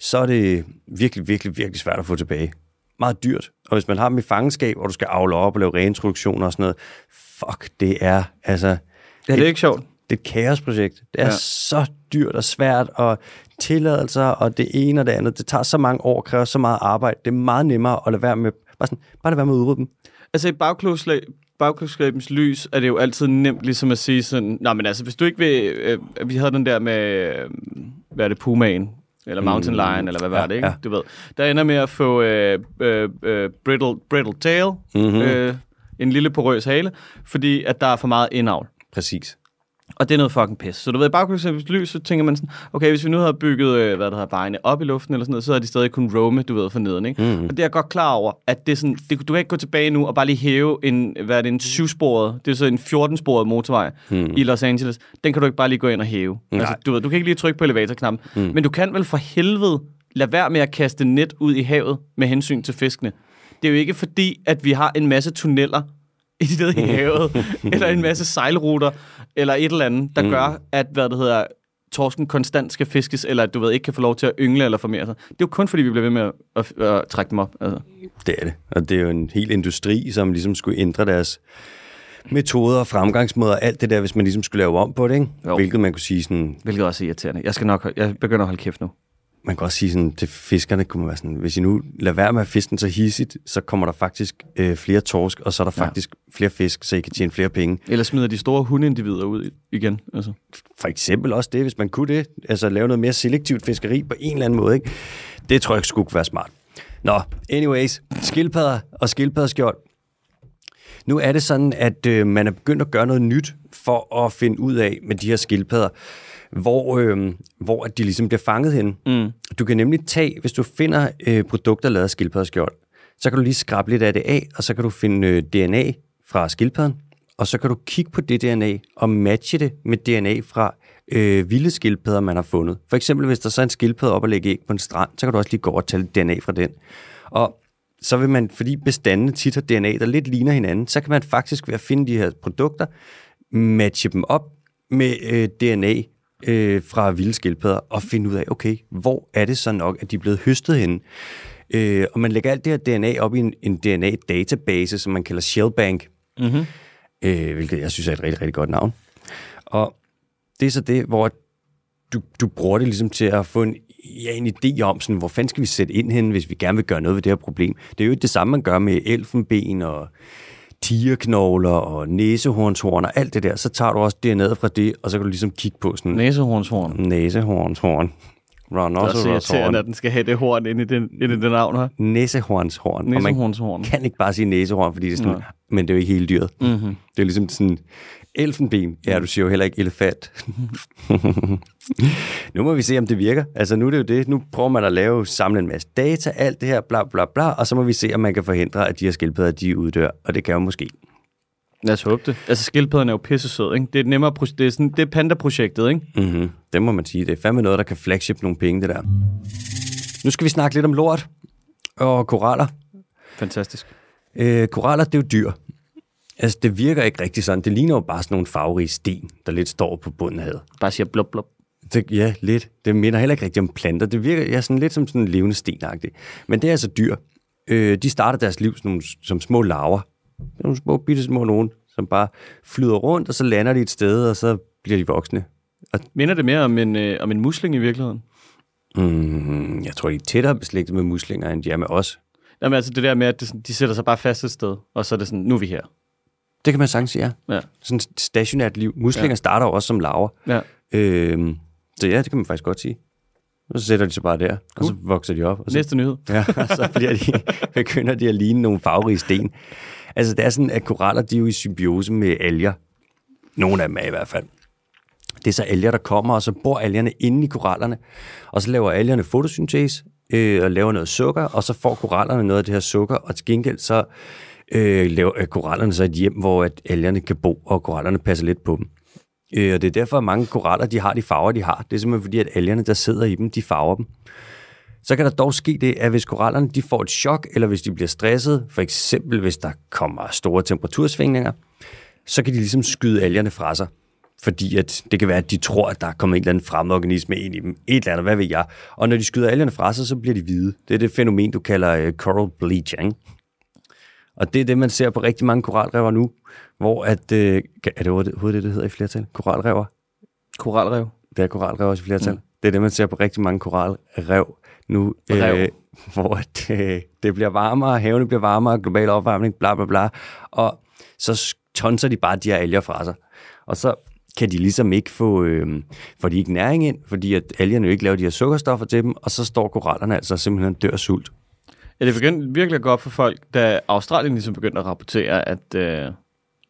Speaker 1: så er det virkelig, virkelig, virkelig svært at få tilbage. Meget dyrt. Og hvis man har dem i fangenskab, og du skal avle op og lave reintroduktioner og sådan noget, fuck, det er altså
Speaker 2: Ja, det er ikke sjovt.
Speaker 1: det er et kaosprojekt. Det er ja.
Speaker 2: Ja.
Speaker 1: så dyrt og svært, og tilladelser, og det ene og det andet. Det tager så mange år, kræver så meget arbejde. Det er meget nemmere at lade være med, bare sådan, bare lade være med at udrydde dem.
Speaker 2: Altså i bagklogslag, bagklogskabens lys er det jo altid nemt ligesom at sige sådan, nej, men altså, hvis du ikke vil, øh, vi havde den der med, øh, hvad er det, Pumaen, eller Mountain Lion, eller hvad var
Speaker 1: Mm. Ja,
Speaker 2: det, ikke?
Speaker 1: ja.
Speaker 2: Du ved. Der ender med at få øh, øh, øh, brittle, brittle tail,
Speaker 1: Mhm.
Speaker 2: mm-hmm. øh, en lille porøs hale, fordi at der er for meget indavl.
Speaker 1: Præcis.
Speaker 2: Og det er noget fucking pis. Så du ved, i baggrundens lys, så tænker man sådan, okay, hvis vi nu havde bygget, øh, hvad der hedder, vejene op i luften eller sådan noget, så havde de stadig kun roame, du ved, for neden, ikke? Mm-hmm. Og det er jeg godt klar over, at det er sådan, det, du kan ikke gå tilbage nu og bare lige hæve en, hvad er det, en syvsporet, det er så en 14-sporet motorvej mm. i Los Angeles. Den kan du ikke bare lige gå ind og hæve. Altså, du ved, du kan ikke lige trykke på elevatorknappen. Mm. Men du kan vel for helvede lade være med at kaste net ud i havet med hensyn til fiskene. Det er jo ikke fordi, at vi har en masse tunneller, i det nede i havet, eller en masse sejlruter, eller et eller andet, der mm. gør, at hvad det hedder, torsken konstant skal fiskes, eller at du ved, ikke kan få lov til at yngle eller formere sig. Det er jo kun fordi, vi bliver ved med at, at, at trække dem op. Altså.
Speaker 1: Det er det. Og det er jo en hel industri, som ligesom skulle ændre deres metoder og fremgangsmåder og alt det der, hvis man ligesom skulle lave om på det, ikke?
Speaker 2: Jo.
Speaker 1: Hvilket man kunne sige sådan,
Speaker 2: Hvilket også er irriterende. Jeg, skal nok, jeg begynder at holde kæft nu.
Speaker 1: man kan også sige sådan, til fiskerne, kunne man være sådan, hvis I nu lader være med at fiske den så hissigt, så kommer der faktisk øh, flere torsk, og så er der
Speaker 2: Ja.
Speaker 1: faktisk flere fisk, så I kan tjene flere penge.
Speaker 2: Ellers smider de store hundeindivider ud i- igen. Altså.
Speaker 1: for eksempel også det, hvis man kunne det, altså lave noget mere selektivt fiskeri på en eller anden måde, ikke? det tror jeg ikke skulle kunne være smart. Nå, anyways, skildpadder og skildpadderskjold. Nu er det sådan, at øh, man er begyndt at gøre noget nyt for at finde ud af med de her skildpadder, hvor, øh, hvor at de ligesom bliver fanget hen. Mm. Du kan nemlig tage, hvis du finder øh, produkter lavet af skildpaddeskjold, så kan du lige skrabe lidt af det af, og så kan du finde øh, DNA fra skildpadden, og så kan du kigge på det DNA og matche det med DNA fra øh, vilde skildpadder, man har fundet. For eksempel, hvis der så er en skildpadde op og lægger æg på en strand, så kan du også lige gå over og tage lidt DNA fra den. Og så vil man, fordi bestandene tit har DNA, der lidt ligner hinanden, så kan man faktisk ved at finde de her produkter, matche dem op med øh, DNA øh, fra vilde skildpadder, og finde ud af, okay, hvor er det så nok, at de er blevet høstet henne? Øh, og man lægger alt det her DNA op i en, en DNA-database, som man kalder Shellbank, mm-hmm. øh, hvilket jeg synes er et rigtig, rigtig godt navn. Og det er så det, hvor du, du bruger det ligesom til at få en, ja, en idé om, sådan, hvor fanden skal vi sætte ind hen, hvis vi gerne vil gøre noget ved det her problem. Det er jo det samme, man gør med elfenben og tigerknogler og næsehornshorn og alt det der. Så tager du også DNA'et fra det, og så kan du ligesom kigge på sådan
Speaker 2: Næsehornshorn.
Speaker 1: næsehornshorn,
Speaker 2: Det er så irriterende,
Speaker 1: rhinoceroshorn,
Speaker 2: at den skal have det horn ind i den, ind i den navn her.
Speaker 1: næsehornshorn. Og man
Speaker 2: Næsehornshorn.
Speaker 1: kan ikke bare sige næsehorn, fordi det er sådan, men det er jo ikke hele dyret. Mm-hmm. Det er ligesom sådan, elfenben, ja, du siger jo heller ikke elefant. nu må vi se, om det virker. Altså, nu er det jo det. Nu prøver man at lave, samle en masse data, alt det her, bla bla bla, og så må vi se, om man kan forhindre, at de her skildpadder, de uddør, og det kan jo måske.
Speaker 2: Lad os håbe det. Altså, skildpadderne er jo pissesød, ikke? Det er, et nemmere pro- det er, sådan, det er panda-projektet, ikke?
Speaker 1: Mm-hmm. Det må man sige. Det er fandme noget, der kan flagship nogle penge, det der. Nu skal vi snakke lidt om lort og koraller.
Speaker 2: Fantastisk.
Speaker 1: Øh, koraller, det er jo dyr. Altså, det virker ikke rigtig sådan. Det ligner jo bare sådan nogle farverige sten, der lidt står på bunden af havet.
Speaker 2: Bare siger blop, blop.
Speaker 1: Det, ja, lidt. Det minder heller ikke rigtig om planter. Det virker ja, sådan lidt som sådan en levende stenagtig. Men det er altså dyr. Øh, de starter deres liv som, nogle, som små larver. Sådan Nogle små, bitte små nogen, som bare flyder rundt, og så lander de et sted, og så bliver de voksne. Og
Speaker 2: Minder det mere om en, øh, om en musling i virkeligheden?
Speaker 1: mm, jeg tror, de er tættere beslægtet med muslinger, end de er med os.
Speaker 2: Jamen altså det der med, at det, sådan- de sætter sig bare fast et sted, og så er det sådan, nu er vi her.
Speaker 1: Det kan man sagtens sige, ja.
Speaker 2: Ja.
Speaker 1: Sådan et stationært liv. Muslinger ja. starter jo også som larver.
Speaker 2: ja.
Speaker 1: Øh, så ja, det kan man faktisk godt sige. Og så sætter de sig bare der, cool. og så vokser de op. Og så
Speaker 2: Næste nyhed.
Speaker 1: Ja, og så bliver de, begynder de at ligne nogle farverige sten. Altså, det er sådan, at koraller, de er jo i symbiose med alger. Nogle af dem er i hvert fald. Det er så alger, der kommer, og så bor algerne inde i korallerne. Og så laver algerne fotosyntese øh, og laver noget sukker, og så får korallerne noget af det her sukker, og til gengæld så øh, laver øh, korallerne så et hjem, hvor at algerne kan bo, og korallerne passer lidt på dem. Øh, og det er derfor, at mange koraller, de har de farver, de har. Det er simpelthen fordi, at algerne, der sidder i dem, de farver dem. Så kan der dog ske det, at hvis korallerne de får et chok, eller hvis de bliver stresset, for eksempel hvis der kommer store temperatursvingninger, så kan de ligesom skyde algerne fra sig. Fordi at det kan være, at de tror, at der er kommet en eller anden fremmedorganisme ind i dem. Et eller andet, hvad ved jeg. Og når de skyder algerne fra sig, så bliver de hvide. Det er det fænomen, du kalder øh, coral bleaching. Og det er det, man ser på rigtig mange koralrever nu, hvor at... Øh, er det overhovedet det, det hedder i flertal? Koralrever?
Speaker 2: Koralrev.
Speaker 1: Det er koralrev også i flertal. Mm. Det er det, man ser på rigtig mange koralrev nu. øh,
Speaker 2: Rev.
Speaker 1: hvor det, det bliver varmere, havene bliver varmere, global opvarmning, bla bla bla. Og så tonser de bare de her alger fra sig. Og så kan de ligesom ikke få, øh, får de ikke næring ind, fordi at algerne jo ikke laver de her sukkerstoffer til dem, og så står korallerne altså og simpelthen dør af sult.
Speaker 2: Ja, det begyndte virkelig at gå op for folk, da Australien ligesom begyndte at rapportere, at øh,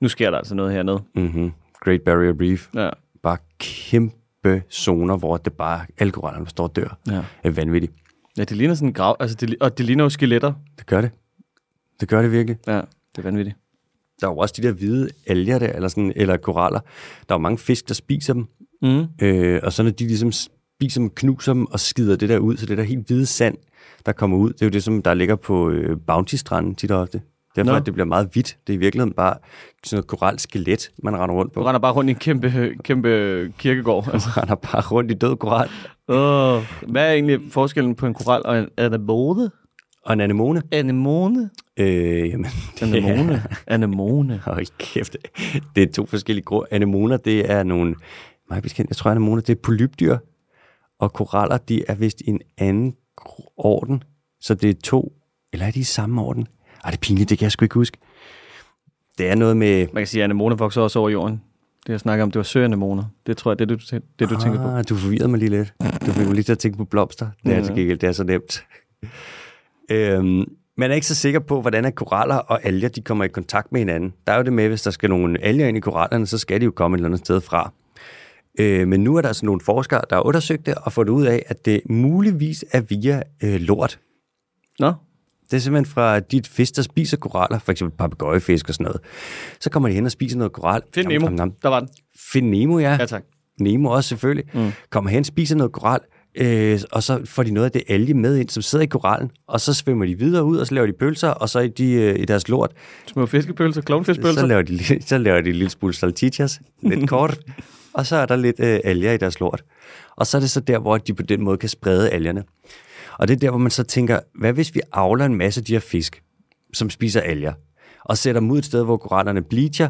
Speaker 2: nu sker der altså noget hernede.
Speaker 1: Mm-hmm. Great Barrier Reef.
Speaker 2: Ja.
Speaker 1: Bare kæmpe zoner, hvor det bare, alle korallerne står og dør.
Speaker 2: Ja.
Speaker 1: Det er vanvittigt.
Speaker 2: Ja, det ligner sådan en grav, altså det, li- og det ligner jo skeletter.
Speaker 1: Det gør det. Det gør det virkelig.
Speaker 2: Ja, det er vanvittigt.
Speaker 1: der er jo også de der hvide alger der, eller, sådan, eller koraller. Der er jo mange fisk, der spiser dem.
Speaker 2: Mm.
Speaker 1: Øh, og så når de ligesom spiser dem, knuser dem og skider det der ud, så det der helt hvide sand, der kommer ud, det er jo det, som der ligger på øh, Bounty-stranden tit og ofte. Derfor
Speaker 2: Nå.
Speaker 1: at det bliver meget hvidt. Det er i virkeligheden bare sådan noget koralskelet, man render rundt på.
Speaker 2: Du render bare rundt i en kæmpe, kæmpe kirkegård. Altså.
Speaker 1: Man render bare rundt i død koral.
Speaker 2: Oh, hvad er egentlig forskellen på en koral og en anemone?
Speaker 1: Og en anemone.
Speaker 2: Anemone?
Speaker 1: Øh, jamen, det er,
Speaker 2: Anemone. Anemone.
Speaker 1: Hold kæft. Det er to forskellige grå. Anemoner, det er nogle... Meget bekendt, jeg tror, anemoner, det er polypdyr. Og koraller, de er vist i en anden gr- orden. Så det er to... Eller er de i samme orden? Ej, det er pinligt, det kan jeg sgu ikke huske. Det er noget med...
Speaker 2: Man kan sige, at anemoner vokser også over jorden. Det, jeg snakker om, det var søanemoner. Det tror jeg, det er det, du, tæ- det, du tænker på.
Speaker 1: Ah, du forvirrede mig lige lidt. Du fik mig lige til at tænke på blomster. Det er,
Speaker 2: Ja.
Speaker 1: ja. det er så nemt. Øhm, man er ikke så sikker på, hvordan at koraller og alger de kommer i kontakt med hinanden. Der er jo det med, hvis der skal nogle alger ind i korallerne, så skal de jo komme et eller andet sted fra. Øh, men nu er der altså nogle forskere, der har undersøgt det og fundet ud af, at det muligvis er via øh, lort.
Speaker 2: Nå,
Speaker 1: Det er simpelthen fra de fisk, der spiser koraller, for eksempel papegøjefisk og sådan noget. Så kommer de hen og spiser noget koral.
Speaker 2: find
Speaker 1: Nam,
Speaker 2: Nemo.
Speaker 1: nam, nam.
Speaker 2: Der var den.
Speaker 1: Find Nemo, ja.
Speaker 2: Ja, tak.
Speaker 1: Nemo også selvfølgelig, mm. kommer hen, spiser noget koral, øh, og så får de noget af det alge med ind, som sidder i korallen, og så svømmer de videre ud, og så laver de pølser, og så i, de, øh, i deres lort,
Speaker 2: Små fiskepølser,
Speaker 1: så
Speaker 2: klovnfiskpølser.
Speaker 1: laver, de, li- så laver de en lille smule salchichas, lidt kort, og så er der lidt øh, alger i deres lort. Og så er det så der, hvor de på den måde kan sprede algerne. Og det er der, hvor man så tænker, hvad hvis vi avler en masse af de her fisk, som spiser alger, og sætter dem ud et sted, hvor korallerne bleacher,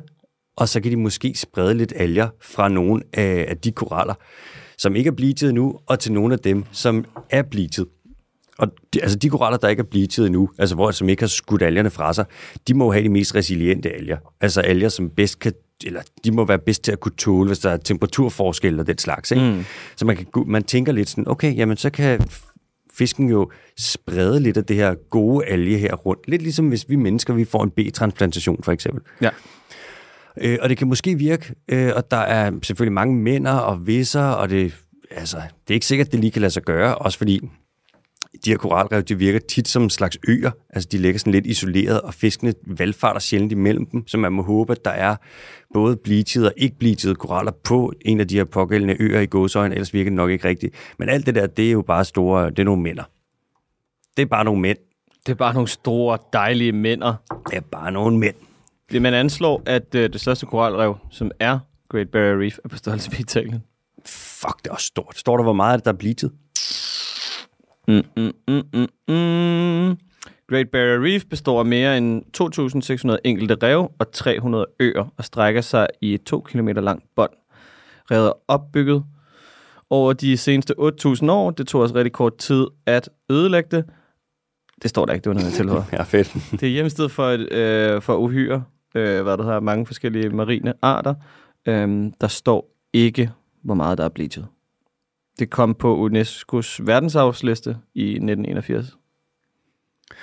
Speaker 1: og så kan de måske sprede lidt alger fra nogle af, af de koraller, som ikke er bleachet nu, og til nogle af dem, som er bleachet. Og de, altså de koraller, der ikke er bleachet endnu, altså hvor, som ikke har skudt algerne fra sig, de må jo have de mest resiliente alger. Altså alger, som bedst kan, eller de må være bedst til at kunne tåle, hvis der er temperaturforskelle og den slags. Ikke? Mm. Så man, kan, gå- man tænker lidt sådan, okay, jamen så kan fisken jo sprede lidt af det her gode alge her rundt. Lidt ligesom hvis vi mennesker, vi får en B-transplantation for eksempel.
Speaker 2: Ja.
Speaker 1: Øh, og det kan måske virke, øh, og der er selvfølgelig mange mænder og visser, og det, altså, det er ikke sikkert, det lige kan lade sig gøre, også fordi de her koralrev, de virker tit som en slags øer. Altså, de ligger sådan lidt isoleret, og fiskene valgfarter sjældent imellem dem, så man må håbe, at der er både bleachede og ikke bleachede koraller på en af de her pågældende øer i gåsøjen, ellers virker det nok ikke rigtigt. Men alt det der, det er jo bare store, det er nogle mænder. Det er bare nogle mænd.
Speaker 2: Det er bare nogle store, dejlige mænder.
Speaker 1: Det er bare nogle mænd.
Speaker 2: Det man anslår, at øh, det største koralrev, som er Great Barrier Reef, er på størrelse med Italien.
Speaker 1: Fuck, det er også stort. Står der, hvor meget er det, der er bleachet?
Speaker 2: Mm, mm, mm, mm, mm. Great Barrier Reef består af mere end 2.600 enkelte rev og 300 øer og strækker sig i et 2 km langt bånd. Revet er opbygget over de seneste 8.000 år. Det tog os rigtig kort tid at ødelægge det. Det står der ikke, det var noget, jeg tilføjede.
Speaker 1: Ja, fedt.
Speaker 2: Det er hjemsted for, et, øh, for uhyre, øh, hvad der hedder, mange forskellige marine arter. Øhm, der står ikke, hvor meget der er bleachet. Det kom på UNESCO's verdensarvsliste i 1981.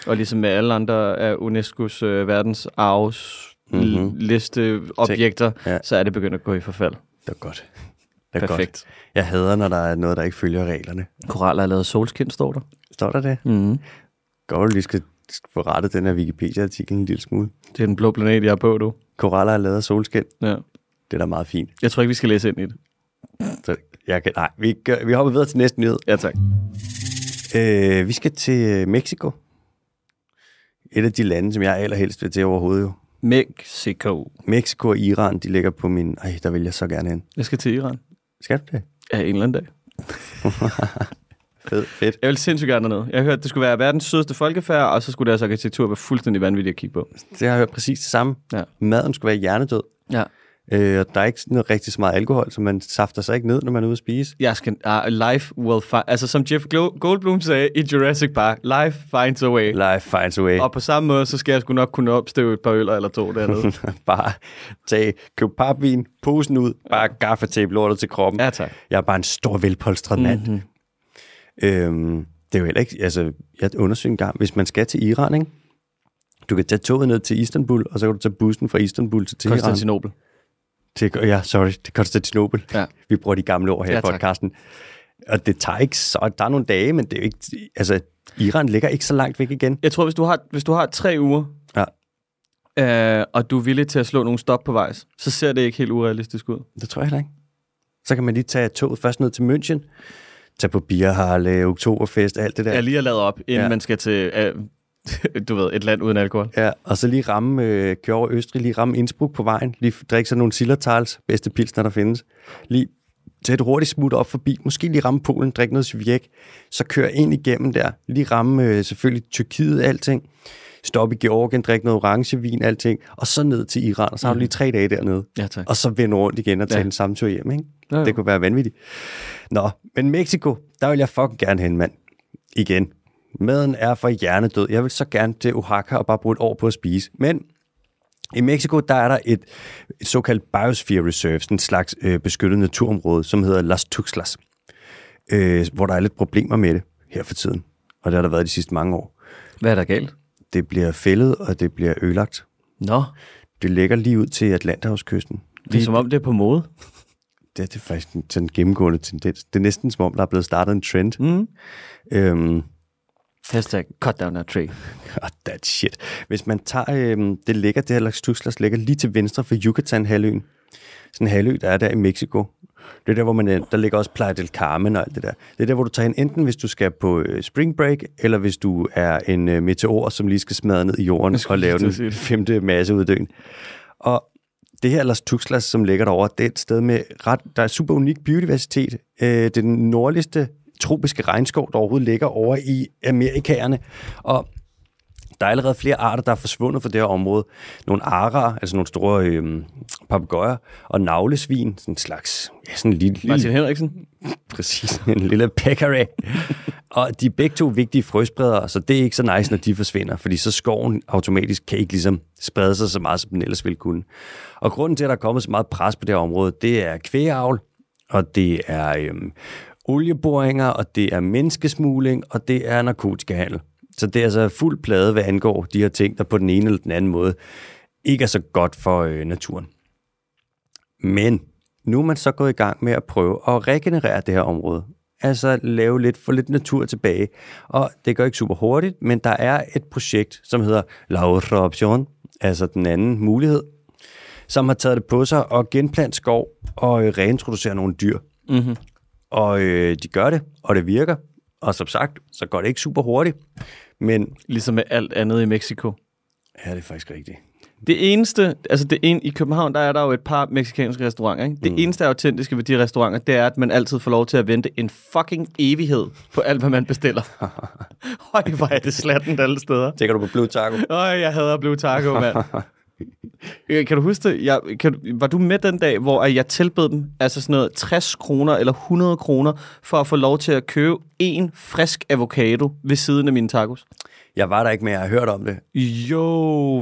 Speaker 2: Og ligesom med alle andre af UNESCO's øh,
Speaker 1: Mhm.
Speaker 2: verdensarvsliste mm-hmm. objekter,
Speaker 1: Ja.
Speaker 2: ja. så er det begyndt at gå i forfald.
Speaker 1: Det er godt. Det er Perfekt.
Speaker 2: Perfekt.
Speaker 1: Godt. Jeg hader, når der er noget, der ikke følger reglerne.
Speaker 2: Koraller er lavet af solskin, står der.
Speaker 1: Står der det?
Speaker 2: Mm-hmm.
Speaker 1: Godt, du lige skal skal få rettet den her Wikipedia-artikel en lille smule.
Speaker 2: Det er den blå planet, jeg er på, du.
Speaker 1: Koraller er lavet af solskin.
Speaker 2: Ja.
Speaker 1: Det er da meget fint.
Speaker 2: Jeg tror ikke, vi skal læse ind i det.
Speaker 1: Så jeg kan, nej, vi, gør, vi hopper videre til næste nyhed.
Speaker 2: Ja, tak.
Speaker 1: Øh, vi skal til Mexico. Et af de lande, som jeg allerhelst vil til overhovedet jo.
Speaker 2: Mexico.
Speaker 1: Mexico og Iran, de ligger på min... Ej, der vil jeg så gerne hen.
Speaker 2: Jeg skal til Iran.
Speaker 1: Skal du det?
Speaker 2: Ja, en eller anden dag.
Speaker 1: Fedt, fedt.
Speaker 2: Jeg vil sindssygt gerne derned. Jeg hørte, det skulle være verdens sødeste folkefærd, og så skulle deres arkitektur være fuldstændig vanvittig at kigge på.
Speaker 1: Det har jeg hørt præcis det samme.
Speaker 2: Ja.
Speaker 1: Maden skulle være hjernedød.
Speaker 2: Ja.
Speaker 1: Øh, og der er ikke noget rigtig så meget alkohol, så man safter sig ikke ned, når man er ude at spise.
Speaker 2: Jeg skal... Uh, life will find... Altså, som Jeff Glo- Goldblum sagde i Jurassic Park, life finds a way.
Speaker 1: Life finds a way.
Speaker 2: Og på samme måde, så skal jeg sgu nok kunne opstøve et par øller eller to dernede.
Speaker 1: bare tage, køb papvin, posen ud, bare gaffatape lortet til kroppen.
Speaker 2: ja, tak. Mhm.
Speaker 1: Jeg er bare en stor, velpolstret mand. Mm-hmm. Øhm, det er jo heller ikke, altså, jeg undersøgte en gang, hvis man skal til Iran, ikke? Du kan tage toget ned til Istanbul, og så kan du tage bussen fra Istanbul til Teheran.
Speaker 2: Konstantinopel.
Speaker 1: Til, ja, sorry, til Konstantinopel.
Speaker 2: Ja.
Speaker 1: Vi bruger de gamle ord her
Speaker 2: Ja,
Speaker 1: ja, i
Speaker 2: tak.
Speaker 1: podcasten. Og det tager ikke så, der er nogle dage, men det er jo ikke, altså, Iran ligger ikke så langt væk igen.
Speaker 2: Jeg tror, hvis du har, hvis du har tre uger,
Speaker 1: Ja.
Speaker 2: øh, og du er villig til at slå nogle stop på vejs, så ser det ikke helt urealistisk ud.
Speaker 1: Det tror jeg heller ikke. Så kan man lige tage toget først ned til München, tage på Bierhalle, Oktoberfest, alt det der.
Speaker 2: Ja. Jeg lige har lavet op, inden
Speaker 1: Ja.
Speaker 2: ja. man skal til, øh, du ved, et land uden alkohol.
Speaker 1: Ja, og så lige ramme, øh, køre over Østrig, lige ramme Innsbruck på vejen, lige drikke sådan nogle Sillertals, bedste pilsner, der findes. Lige tage et hurtigt smut op forbi, måske lige ramme Polen, drikke noget Svijek, så køre ind igennem der, lige ramme øh, selvfølgelig Tyrkiet, alting. Stop i Georgien, drikke noget orangevin, alting, og så ned til Iran, og så har du lige tre dage dernede.
Speaker 2: Ja, tak.
Speaker 1: Og så vende rundt igen og tage
Speaker 2: Ja.
Speaker 1: ja. den samme tur hjem, ikke?
Speaker 2: Ja, jo.
Speaker 1: Det kunne være vanvittigt. Nå, men Mexico, der vil jeg fucking gerne hen, mand. Igen. Maden er for hjernedød. Jeg vil så gerne til Oaxaca og bare bruge et år på at spise. Men i Mexico, der er der et, et såkaldt Biosphere Reserve, sådan en slags øh, beskyttet naturområde, som hedder Las Tuxtlas, øh, hvor der er lidt problemer med det her for tiden. Og det har der været de sidste mange år.
Speaker 2: Hvad er der galt?
Speaker 1: det bliver fældet, og det bliver ødelagt.
Speaker 2: Nå,
Speaker 1: Det ligger lige ud til Atlanterhavskysten.
Speaker 2: det er som om, det er på mode.
Speaker 1: Det, er- det er faktisk en sådan en gennemgående tendens. Det er næsten som om, der er blevet startet en trend.
Speaker 2: Mm.
Speaker 1: Øhm,
Speaker 2: Hashtag cut down that tree.
Speaker 1: God, that shit. Hvis man tager, øhm, det ligger, det her Las Tuxtlas ligger lige til venstre for Yucatan-halvøen. Sådan en halvø, der er der i Mexico. Det er der, hvor man, øh, der ligger også Playa del Carmen og alt det der. Det er der, hvor du tager hen, enten hvis du skal på øh, spring break, eller hvis du er en øh, meteor, som lige skal smadre ned i jorden og lave
Speaker 2: til
Speaker 1: den
Speaker 2: at sige det.
Speaker 1: femte masseuddøen. Og det her Las Tuxtlas, som ligger derovre, det er et sted med ret, der er super unik biodiversitet. Øh, det er den nordligste tropiske regnskov, der overhovedet ligger over i Amerikaerne. Og der er allerede flere arter, der er forsvundet fra det her område. Nogle arer, altså nogle store øhm, papegøjer, og navlesvin, sådan en slags, ja, sådan en lille, lille
Speaker 2: Martin Henriksen.
Speaker 1: præcis, en lille peccary. og de er begge to vigtige frøspredere, så det er ikke så nice, når de forsvinder, fordi så skoven automatisk kan ikke ligesom sprede sig så meget, som den ellers ville kunne. Og grunden til, at der er kommet så meget pres på det her område, det er kvægeavl, og det er øhm, olieboringer, og det er menneskesmugling, og det er narkotikahandel. Så det er altså fuld plade, hvad angår de her ting, der på den ene eller den anden måde ikke er så godt for øh, naturen. Men nu er man så gået i gang med at prøve at regenerere det her område. Altså lave lidt, få lidt natur tilbage. Og det går ikke super hurtigt, men der er et projekt, som hedder La Otra Option, altså den anden mulighed, som har taget det på sig at genplante skov og øh, reintroducere nogle dyr. Mhm.
Speaker 2: Mm-hmm.
Speaker 1: Og øh, de gør det, og det virker. Og som sagt, så går det ikke super hurtigt. Men
Speaker 2: Ligesom med alt andet i Mexico.
Speaker 1: ja, det er faktisk rigtigt.
Speaker 2: Det eneste, altså det ene, i København, der er der jo et par meksikanske restauranter, ikke? Det mm. eneste autentiske ved de restauranter, det er, at man altid får lov til at vente en fucking evighed på alt, hvad man bestiller. Høj, hvor er det slatten alle steder.
Speaker 1: Tænker du på blød taco?
Speaker 2: Øj, jeg hader at blive taco, mand. Øh, kan du huske det? Jeg, kan, du- var du med den dag, hvor at jeg tilbød dem altså sådan noget 60 kroner eller 100 kroner for at få lov til at købe en frisk avocado ved siden af mine tacos?
Speaker 1: Jeg var der ikke, men jeg har hørt om det.
Speaker 2: Jo,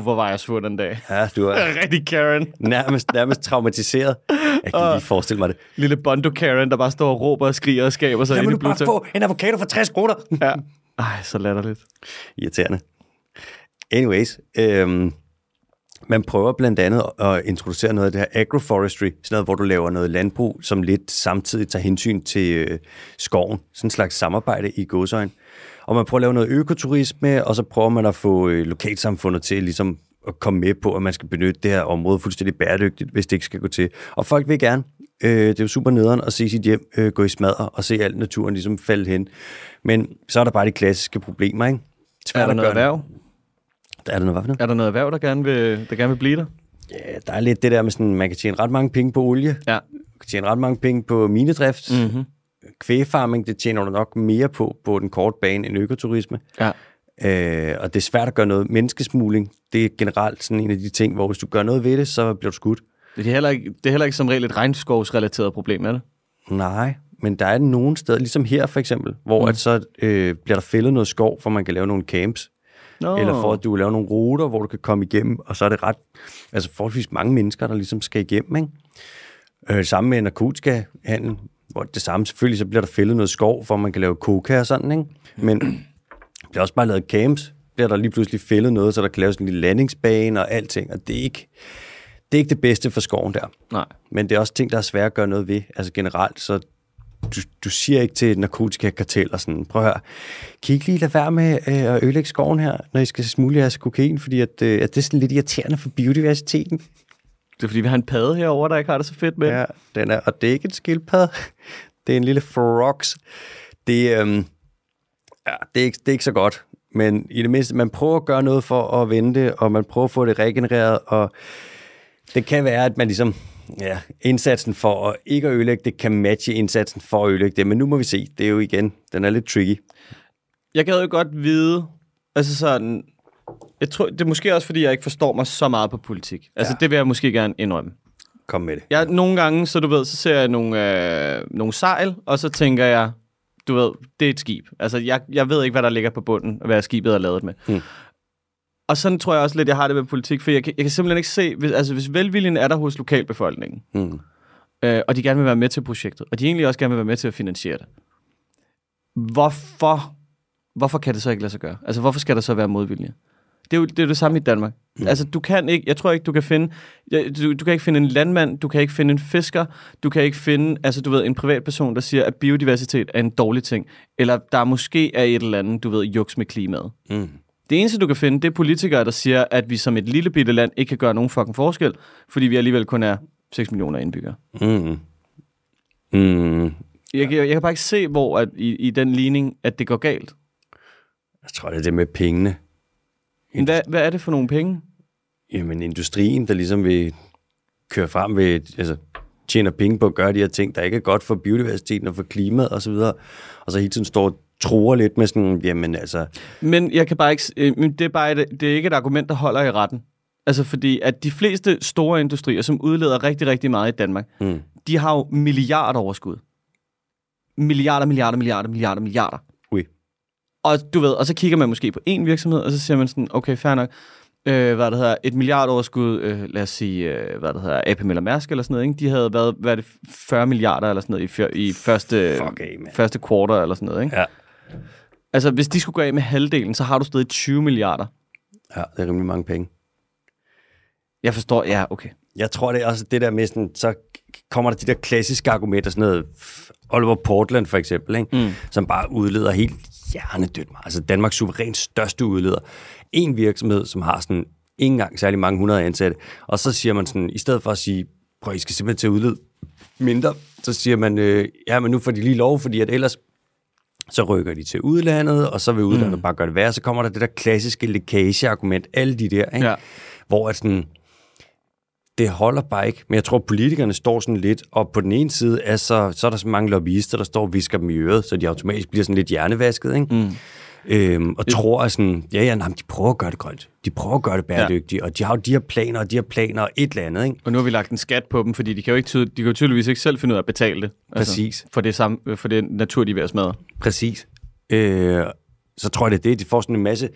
Speaker 2: hvor var jeg sur den dag.
Speaker 1: Ja, du er...
Speaker 2: Rigtig Karen.
Speaker 1: nærmest, nærmest traumatiseret. Jeg kan lige forestille mig det.
Speaker 2: Lille Bondo Karen, der bare står og råber og skriger og skaber sig ind i Bluetooth.
Speaker 1: en avocado for 60 kroner.
Speaker 2: Ja. Ej, så latterligt.
Speaker 1: Irriterende. Anyways, øhm, man prøver blandt andet at introducere noget af det her agroforestry, sådan noget, hvor du laver noget landbrug, som lidt samtidig tager hensyn til øh, skoven. Sådan en slags samarbejde i godsøjen. Og man prøver at lave noget økoturisme, og så prøver man at få øh, lokalsamfundet til ligesom at komme med på, at man skal benytte det her område fuldstændig bæredygtigt, hvis det ikke skal gå til. Og folk vil gerne. Øh, det er jo super nederen at se sit hjem øh, gå i smadre og se alt naturen ligesom falde hen. Men så er der bare de klassiske problemer, ikke?
Speaker 2: Er
Speaker 1: Svært
Speaker 2: der
Speaker 1: at
Speaker 2: noget
Speaker 1: gøre-
Speaker 2: erhverv?
Speaker 1: Er der noget hvad for noget?
Speaker 2: Er der noget erhverv, der gerne vil, der gerne vil blive der?
Speaker 1: Ja, der er lidt det der med sådan, man kan tjene ret mange penge på olie,
Speaker 2: Ja.
Speaker 1: man kan tjene ret mange penge på minedrift, mm.
Speaker 2: Mm-hmm.
Speaker 1: kvægefarming, det tjener du nok mere på på den korte bane end økoturisme.
Speaker 2: Ja.
Speaker 1: Øh, og det er svært at gøre noget. Menneskesmugling, det er generelt sådan en af de ting, hvor hvis du gør noget ved det, så bliver du skudt.
Speaker 2: Det er, heller ikke, det er heller ikke som regel et regnskovsrelateret problem, er det?
Speaker 1: Nej, men der er nogle steder, ligesom her for eksempel, hvor mm. at så øh, bliver der fældet noget skov, for man kan lave nogle camps.
Speaker 2: Nå.
Speaker 1: Eller for at du laver nogle ruter, hvor du kan komme igennem, og så er det ret, altså forholdsvis mange mennesker, der ligesom skal igennem, ikke? Øh, sammen med narkotikahandel, hvor det samme selvfølgelig, så bliver der fældet noget skov, for man kan lave coca og sådan, ikke? Men der bliver også bare lavet camps, bliver der lige pludselig fældet noget, så der kan laves en lille landingsbane og alting, og det er ikke det, er ikke det bedste for skoven der.
Speaker 2: Nej.
Speaker 1: Men det er også ting, der er svære at gøre noget ved. Altså generelt, så du, du siger ikke til et narkotikakartel og sådan, prøv at høre, kan I ikke lige lade være med øh, at ødelægge skoven her, når I skal smule jeres kokain, fordi at, øh, at det er sådan lidt irriterende for biodiversiteten.
Speaker 2: Det er fordi, vi har en padde herover der ikke har det så fedt med.
Speaker 1: Ja, den er, og det er ikke en skildpadde, det er en lille frogs. Det, øhm, ja, det, er ikke, det er ikke så godt, men i det mindste, man prøver at gøre noget for at vende det, og man prøver at få det regenereret, og det kan være, at man ligesom, ja, indsatsen for at ikke at ødelægge det, kan matche indsatsen for at ødelægge det, men nu må vi se, det er jo igen, den er lidt tricky.
Speaker 2: Jeg gad jo godt vide, altså sådan, jeg tror, det er måske også, fordi jeg ikke forstår mig så meget på politik. Altså, ja. det vil jeg måske gerne indrømme.
Speaker 1: Kom med det.
Speaker 2: Jeg, nogle gange, så du ved, så ser jeg nogle, øh, nogle sejl, og så tænker jeg, du ved, det er et skib. Altså, jeg, jeg ved ikke, hvad der ligger på bunden, og hvad skibet er lavet med.
Speaker 1: Hmm.
Speaker 2: Og sådan tror jeg også lidt, jeg har det med politik, for jeg kan, jeg kan simpelthen ikke se, hvis, altså hvis velviljen er der hos lokalbefolkningen,
Speaker 1: Mm.
Speaker 2: øh, og de gerne vil være med til projektet, og de egentlig også gerne vil være med til at finansiere det. Hvorfor, hvorfor kan det så ikke lade sig gøre? Altså, hvorfor skal der så være modvilje? Det er jo det, er jo det samme i Danmark. Mm. Altså, du kan ikke, jeg tror ikke, du kan finde, ja, du, du kan ikke finde en landmand, du kan ikke finde en fisker, du kan ikke finde, altså du ved, en privatperson, der siger, at biodiversitet er en dårlig ting, eller der måske er et eller andet, du ved, juks med klimaet.
Speaker 1: Mm.
Speaker 2: Det eneste, du kan finde, det er politikere, der siger, at vi som et lille bitte land ikke kan gøre nogen fucking forskel, fordi vi alligevel kun er 6 millioner indbyggere.
Speaker 1: Mm. Mm.
Speaker 2: Jeg, jeg, jeg kan bare ikke se, hvor at, i, i den ligning, at det går galt.
Speaker 1: Jeg tror, det er det med pengene.
Speaker 2: Men hvad, hvad er det for nogle penge?
Speaker 1: Jamen, industrien, der ligesom vil køre frem ved, altså, tjener penge på at gøre de her ting, der ikke er godt for biodiversiteten og for klimaet osv., og så hele tiden står og truer lidt med sådan, jamen altså,
Speaker 2: Men jeg kan bare ikke, s- øh, men det er bare et, det er ikke et argument, der holder i retten. Altså fordi, at de fleste store industrier, som udleder rigtig, rigtig meget i Danmark,
Speaker 1: Mm.
Speaker 2: de har jo milliarder overskud. Milliarder, milliarder, milliarder, milliarder, milliarder.
Speaker 1: ui,
Speaker 2: Og du ved, og så kigger man måske på en virksomhed, og så siger man sådan, okay, fair nok, øh, hvad det hedder, et milliardoverskud, øh, lad os sige, øh, hvad det hedder, AP Møller Mærsk eller sådan noget, ikke? de havde været, hvad er det, 40 milliarder eller sådan noget i, fjør, i første,
Speaker 1: Fuck af, mand.
Speaker 2: første quarter eller sådan noget, ikke?
Speaker 1: Ja.
Speaker 2: Altså, hvis de skulle gå af med halvdelen, så har du stadig 20 milliarder.
Speaker 1: ja, det er rimelig mange penge.
Speaker 2: Jeg forstår, ja, okay.
Speaker 1: Jeg tror, det er også det der med sådan, så kommer der de der klassiske argumenter, sådan noget, f- Oliver Portland for eksempel, ikke? Mm. som bare udleder helt hjernedødt meget. Altså Danmarks suverænt største udleder. En virksomhed, som har sådan ikke engang særlig mange hundrede ansatte. Og så siger man sådan, i stedet for at sige, prøv, I skal simpelthen til at udlede mindre, så siger man, øh, ja, men nu får de lige lov, fordi at ellers så rykker de til udlandet, og så vil udlandet mm. bare gøre det værre. Så kommer der det der klassiske lækage-argument, alle de der, ikke?
Speaker 2: Ja.
Speaker 1: hvor at sådan, det holder bare ikke. Men jeg tror, politikerne står sådan lidt, og på den ene side er så, så er der så mange lobbyister, der står og visker dem i øret, så de automatisk bliver sådan lidt hjernevasket, ikke? Mm. Øhm, og tror at sådan, ja, ja, nej, men de prøver at gøre det grønt. De prøver at gøre det bæredygtigt, ja. og de har jo de her planer, og de her planer, og et eller andet, ikke?
Speaker 2: Og nu har vi lagt en skat på dem, fordi de kan jo, ikke tyde, de kan jo tydeligvis ikke selv finde ud af at betale det. Altså,
Speaker 1: Præcis.
Speaker 2: For det, samme, for det natur, de er ved at smadre.
Speaker 1: Præcis. Øh, så tror jeg, det er det. De får sådan en masse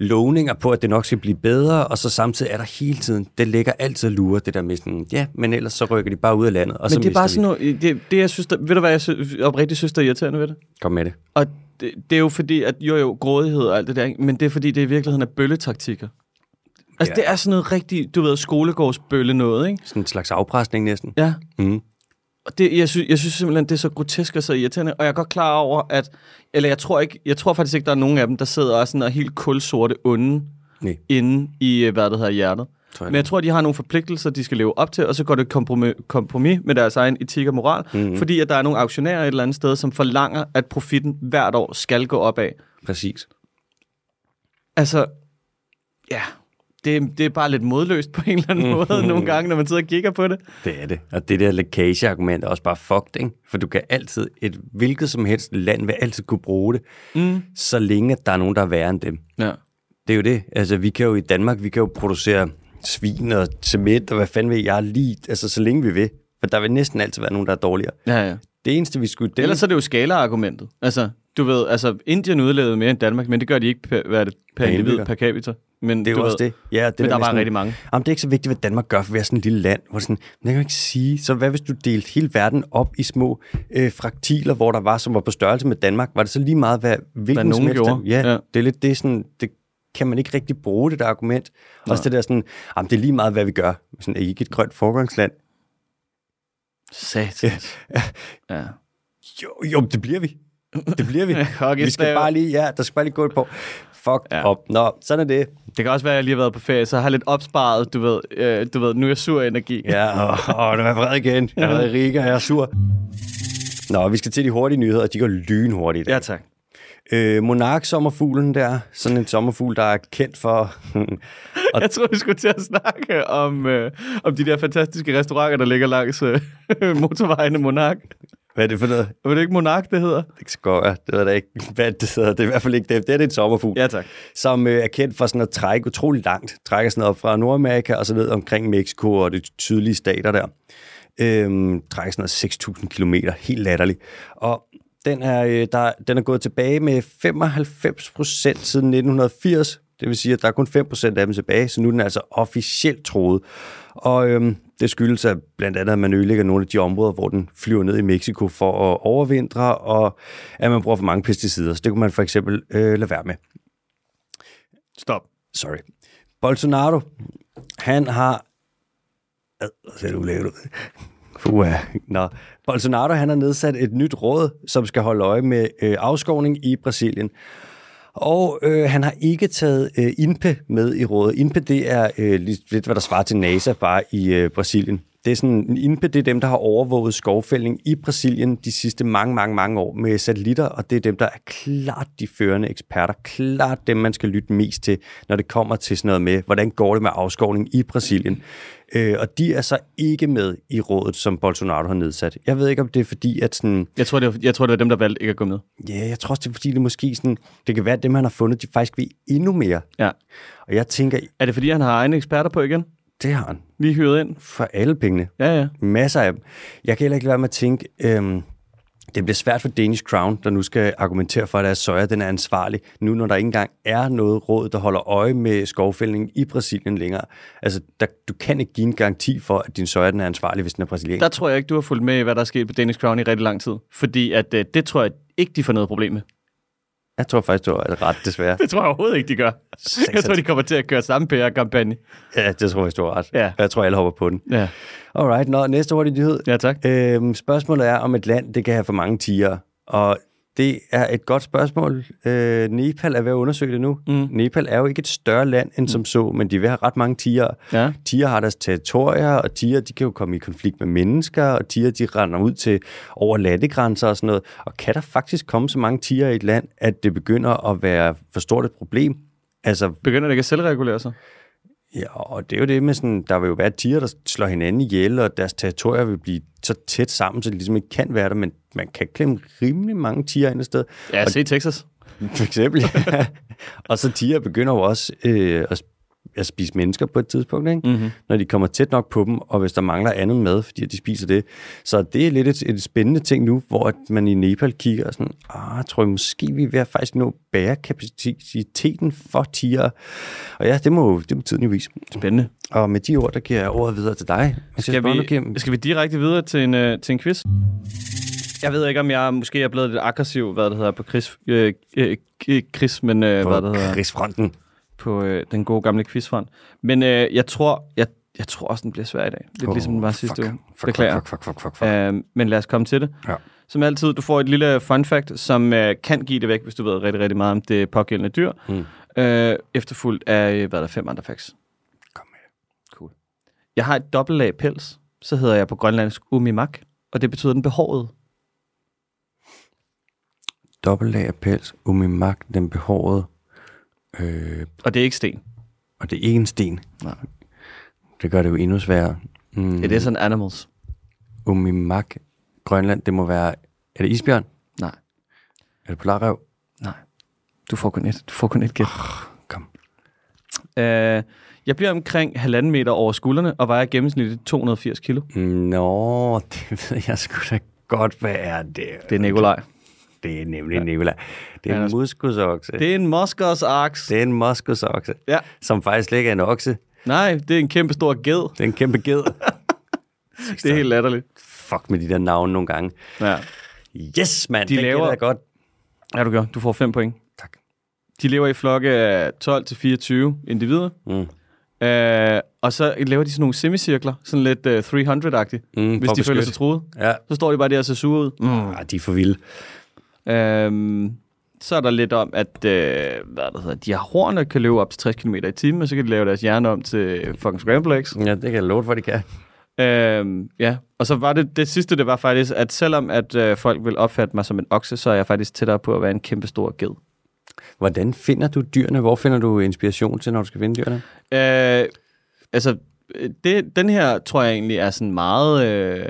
Speaker 1: lovninger på, at det nok skal blive bedre, og så samtidig er der hele tiden, det ligger altid og lurer, det der med sådan, ja, men ellers så rykker de bare ud af landet, og så
Speaker 2: Men det er
Speaker 1: mister
Speaker 2: bare
Speaker 1: vi.
Speaker 2: sådan noget, det, det jeg synes, der, ved du hvad jeg synes, oprigtigt synes, der er irriterende ved det?
Speaker 1: Kom med det.
Speaker 2: Og det, det er jo fordi, at jo jo, grådighed og alt det der, ikke? men det er fordi, det i virkeligheden er bølletaktikker. Altså,
Speaker 1: Ja.
Speaker 2: det er sådan noget rigtig, du ved, skolegårdsbølle noget, ikke?
Speaker 1: Sådan en slags afpresning næsten.
Speaker 2: Ja.
Speaker 1: Mm.
Speaker 2: Og det, jeg, synes, jeg synes simpelthen, det er så grotesk og så irriterende, og jeg er godt klar over, at, eller jeg tror, ikke, jeg tror faktisk ikke, der er nogen af dem, der sidder og er sådan noget helt kulsorte onde
Speaker 1: Nej.
Speaker 2: inde i, øh, hvad det hedder, hjertet.
Speaker 1: Tror jeg
Speaker 2: Men jeg tror, de har nogle forpligtelser, de skal leve op til, og så går det kompromis, kompromis med deres egen etik og moral, mm-hmm. fordi at der er nogle aktionærer et eller andet sted, som forlanger, at profitten hvert år skal gå opad.
Speaker 1: Præcis.
Speaker 2: Altså, ja, det, det er bare lidt modløst på en eller anden måde nogle gange, når man sidder og kigger på det.
Speaker 1: Det er det. Og det der lækage-argument er også bare fucked, ikke? For du kan altid, et hvilket som helst land vil altid kunne bruge det, mm. så længe at der er nogen, der er værre end dem.
Speaker 2: Ja.
Speaker 1: Det er jo det. Altså, vi kan jo i Danmark, vi kan jo producere svin og cement og hvad fanden ved jeg lige, altså så længe vi vil. For der vil næsten altid være nogen, der er dårligere.
Speaker 2: ja, ja.
Speaker 1: Det eneste, vi skulle... Det
Speaker 2: Ellers er det jo skala-argumentet. Altså, du ved, altså, Indien udlevede mere end Danmark, men det gør de ikke per, hvad er det, per individ,
Speaker 1: indbygger.
Speaker 2: per capita. Men
Speaker 1: Det er
Speaker 2: du
Speaker 1: jo også
Speaker 2: ved,
Speaker 1: det. Ja, det
Speaker 2: men der
Speaker 1: med
Speaker 2: var
Speaker 1: sådan-
Speaker 2: rigtig mange.
Speaker 1: Jamen, det er ikke så vigtigt, hvad Danmark gør, for vi er sådan et lille land. Hvor det sådan, men jeg kan jo ikke sige. Så hvad hvis du delte hele verden op i små øh, fraktiler, hvor der var, som var på størrelse med Danmark? Var det så lige meget, hvad, hvilken
Speaker 2: Hvad nogen
Speaker 1: som helst-
Speaker 2: gjorde.
Speaker 1: Ja,
Speaker 2: Ja.
Speaker 1: ja, det er lidt det er sådan, det kan man ikke rigtig bruge det der argument. Nej. Også det der sådan, jamen, det er lige meget, hvad vi gør. Sådan, er I ikke et grønt forgangsland?
Speaker 2: Satans. Ja.
Speaker 1: Jo, jo, det bliver vi. Det bliver vi.
Speaker 2: Hockeystav.
Speaker 1: vi skal bare lige, ja, der skal bare lige gå et på. Fuck
Speaker 2: Ja.
Speaker 1: ja. op. Nå, sådan er det.
Speaker 2: Det kan også være, at jeg lige har været på ferie, så jeg har lidt opsparet, du ved, øh, du ved nu er jeg sur af energi.
Speaker 1: Ja, åh, åh, nu er jeg vred igen. Jeg er vred i Riga, jeg er sur. Nå, vi skal til de hurtige nyheder, og de går lynhurtigt. i dag.
Speaker 2: ja tak.
Speaker 1: Øh, Monark-sommerfuglen der, sådan en sommerfugl, der er kendt for... og
Speaker 2: Jeg tror, vi skulle til at snakke om, øh, om de der fantastiske restauranter, der ligger langs øh, motorvejen i Monark.
Speaker 1: hvad er det for noget?
Speaker 2: Var det ikke Monark, det hedder?
Speaker 1: Det skal jeg. Det ved jeg da ikke, hvad det hedder. Det er i hvert fald ikke det. Det er en sommerfugl.
Speaker 2: Ja, tak.
Speaker 1: Som øh, er kendt for sådan at trække utrolig langt. Trækker sådan noget op fra Nordamerika og så ned omkring Mexico og de tydelige stater der. Øhm, trækker sådan noget 6.000 km. Helt latterligt. Og den er, øh, der, den er gået tilbage med 95 procent siden 1980. Det vil sige, at der er kun 5 procent af dem tilbage, så nu er den altså officielt troet. Og øhm, det skyldes at blandt andet, at man ødelægger nogle af de områder, hvor den flyver ned i Mexico for at overvintre, og at man bruger for mange pesticider. Så det kunne man for eksempel øh, lade være med.
Speaker 2: Stop.
Speaker 1: sorry, Bolsonaro, han har... Ad, hvor ser du ulækkert ud. Uha. Nå. Bolsonaro, han har nedsat et nyt råd, som skal holde øje med øh, afskovning i Brasilien. Og øh, han har ikke taget øh, INPE med i rådet. INPE, det er øh, lidt, lidt, hvad der svarer til NASA bare i øh, Brasilien. Det er sådan, INPE, det er dem, der har overvåget skovfældning i Brasilien de sidste mange, mange, mange år med satellitter, og det er dem, der er klart de førende eksperter, klart dem, man skal lytte mest til, når det kommer til sådan noget med, hvordan går det med afskovning i Brasilien. Øh, og de er så ikke med i rådet, som Bolsonaro har nedsat. Jeg ved ikke, om det er fordi, at sådan,
Speaker 2: Jeg tror, det var, jeg tror, det var dem, der valgte ikke at gå med.
Speaker 1: Ja, yeah, jeg tror også, det er fordi, det måske sådan, det kan være, at dem, han har fundet, de faktisk ved endnu mere.
Speaker 2: Ja.
Speaker 1: Og jeg tænker,
Speaker 2: Er det, fordi han har egne eksperter på igen?
Speaker 1: det har han
Speaker 2: Lige hyret ind?
Speaker 1: for alle pengene.
Speaker 2: Ja, ja.
Speaker 1: Masser af dem. Jeg kan heller ikke lade være med at tænke, øhm, det bliver svært for Danish Crown, der nu skal argumentere for, at deres soja den er ansvarlig, nu når der ikke engang er noget råd, der holder øje med skovfældningen i Brasilien længere. Altså, der, du kan ikke give en garanti for, at din soja den er ansvarlig, hvis den er brasiliansk.
Speaker 2: Der tror jeg ikke, du har fulgt med i, hvad der er sket på Danish Crown i rigtig lang tid. Fordi at, øh, det tror jeg ikke, de får noget problem med.
Speaker 1: Jeg tror faktisk, du har ret, desværre.
Speaker 2: Det tror jeg overhovedet ikke, de gør. Jeg tror, de kommer til at køre samme PR-kampagne.
Speaker 1: Ja, det tror jeg, du har ret.
Speaker 2: Ja.
Speaker 1: Jeg tror, alle hopper på den.
Speaker 2: Ja.
Speaker 1: Alright, nå, næste hurtige nyhed.
Speaker 2: ja, tak.
Speaker 1: Øhm, spørgsmålet er, om et land det kan have for mange tiger. Og det er et godt spørgsmål. Øh, Nepal er ved at undersøge det nu. Mm. Nepal er jo ikke et større land end som så, men de vil have ret mange tiger.
Speaker 2: Ja.
Speaker 1: Tiger har deres territorier, og tiger de kan jo komme i konflikt med mennesker, og tiger de render ud til over landegrænser og sådan noget. Og kan der faktisk komme så mange tiger i et land, at det begynder at være for stort et problem? Altså,
Speaker 2: Begynder det ikke at selvregulere sig?
Speaker 1: Ja, og det er jo det med sådan, der vil jo være tiger, der slår hinanden ihjel, og deres territorier vil blive så tæt sammen, så det ligesom ikke kan være der, men man kan klemme rimelig mange tiger ind et sted.
Speaker 2: Ja, se Texas.
Speaker 1: For eksempel. ja. og så tiger begynder jo også øh, at, sp- at spise mennesker på et tidspunkt, ikke? Mm-hmm. når de kommer tæt nok på dem, og hvis der mangler andet mad, fordi at de spiser det. Så det er lidt et, et spændende ting nu, hvor at man i Nepal kigger og sådan, ah, jeg tror jeg måske, vi er ved at faktisk nå bærekapaciteten for tiger. Og ja, det må, jo- det må tiden jo vise.
Speaker 2: Spændende.
Speaker 1: Og med de ord, der giver jeg ordet videre til dig.
Speaker 2: Skal vi, skal vi direkte videre til en, øh, til en quiz? Jeg ved ikke, om jeg måske er blevet lidt aggressiv, hvad det hedder, på Chris, øh, øh, ikke Chris men øh, hvad det hedder,
Speaker 1: Krigsfronten.
Speaker 2: på øh, den gode gamle quizfond. Men øh, jeg tror, jeg, jeg tror også, den bliver svær i dag. Lidt oh, ligesom den var sidste uge. Beklager.
Speaker 1: Fuck, fuck, fuck, fuck, fuck.
Speaker 2: Øh, men lad os komme til det.
Speaker 1: Ja.
Speaker 2: Som altid, du får et lille fun fact, som øh, kan give det væk, hvis du ved rigtig, rigtig meget om det pågældende dyr.
Speaker 1: Mm.
Speaker 2: Øh, efterfulgt af, øh, hvad er der, fem andre facts.
Speaker 1: Kom med.
Speaker 2: Cool. Jeg har et dobbeltlag pels, så hedder jeg på grønlandsk umimak, og det betyder den behårede.
Speaker 1: Dobbeltlag af pels, umimak, den behårede, øh,
Speaker 2: Og det er ikke sten.
Speaker 1: og det er ikke en sten.
Speaker 2: Nej.
Speaker 1: Det gør det jo endnu sværere. Mm.
Speaker 2: Mm. It is an animals.
Speaker 1: Umimak, Grønland, det må være... Er det isbjørn?
Speaker 2: Nej,
Speaker 1: Er det polarrev?
Speaker 2: nej. Du får kun et, du får kun et gæt.
Speaker 1: Kom.
Speaker 2: Øh, jeg bliver omkring halvanden meter over skuldrene, og vejer gennemsnitligt 280 kilo.
Speaker 1: Nå, det ved jeg sgu da godt, hvad er det?
Speaker 2: Det er Nikolaj.
Speaker 1: Det er nemlig Nicolaj. Det
Speaker 2: Han
Speaker 1: er
Speaker 2: er
Speaker 1: en
Speaker 2: også-
Speaker 1: muskusokse. Det...
Speaker 2: Det er en Moskers aks.
Speaker 1: det er en muskusokse,
Speaker 2: Ja.
Speaker 1: som faktisk ikke er en okse.
Speaker 2: Nej, det er en kæmpe stor ged.
Speaker 1: Det er en kæmpe ged.
Speaker 2: Det er helt latterligt.
Speaker 1: Fuck med de der navne nogle gange.
Speaker 2: Ja.
Speaker 1: Yes, mand.
Speaker 2: De
Speaker 1: det
Speaker 2: laver-
Speaker 1: gætter jeg godt.
Speaker 2: ja, du gør. Du får 5 point.
Speaker 1: Tak.
Speaker 2: De lever i flokke af 12-24 individer.
Speaker 1: Mm.
Speaker 2: Øh, og så laver de sådan nogle semicirkler, sådan lidt øh, 300-agtigt,
Speaker 1: Mm,
Speaker 2: mm, hvis
Speaker 1: for at
Speaker 2: de føler
Speaker 1: beskytte.
Speaker 2: sig truet.
Speaker 1: Ja.
Speaker 2: Så står de bare der og ser sure ud.
Speaker 1: Mm. Ah, de er for vilde.
Speaker 2: Øhm, så er der lidt om, at øh, hvad er det hedder, de har horn, der kan løbe op til 60 km i timen, og så kan de lave deres hjerne om til fucking scramble eggs.
Speaker 1: Ja, det kan jeg love for, de kan.
Speaker 2: Øhm, ja, og så var det, det sidste, det var faktisk, at selvom at øh, folk vil opfatte mig som en okse, så er jeg faktisk tættere på at være en kæmpe stor ged.
Speaker 1: Hvordan finder du dyrene? Hvor finder du inspiration til, når du skal finde dyrene?
Speaker 2: Øh, altså, øh, det, den her tror jeg egentlig er sådan meget øh,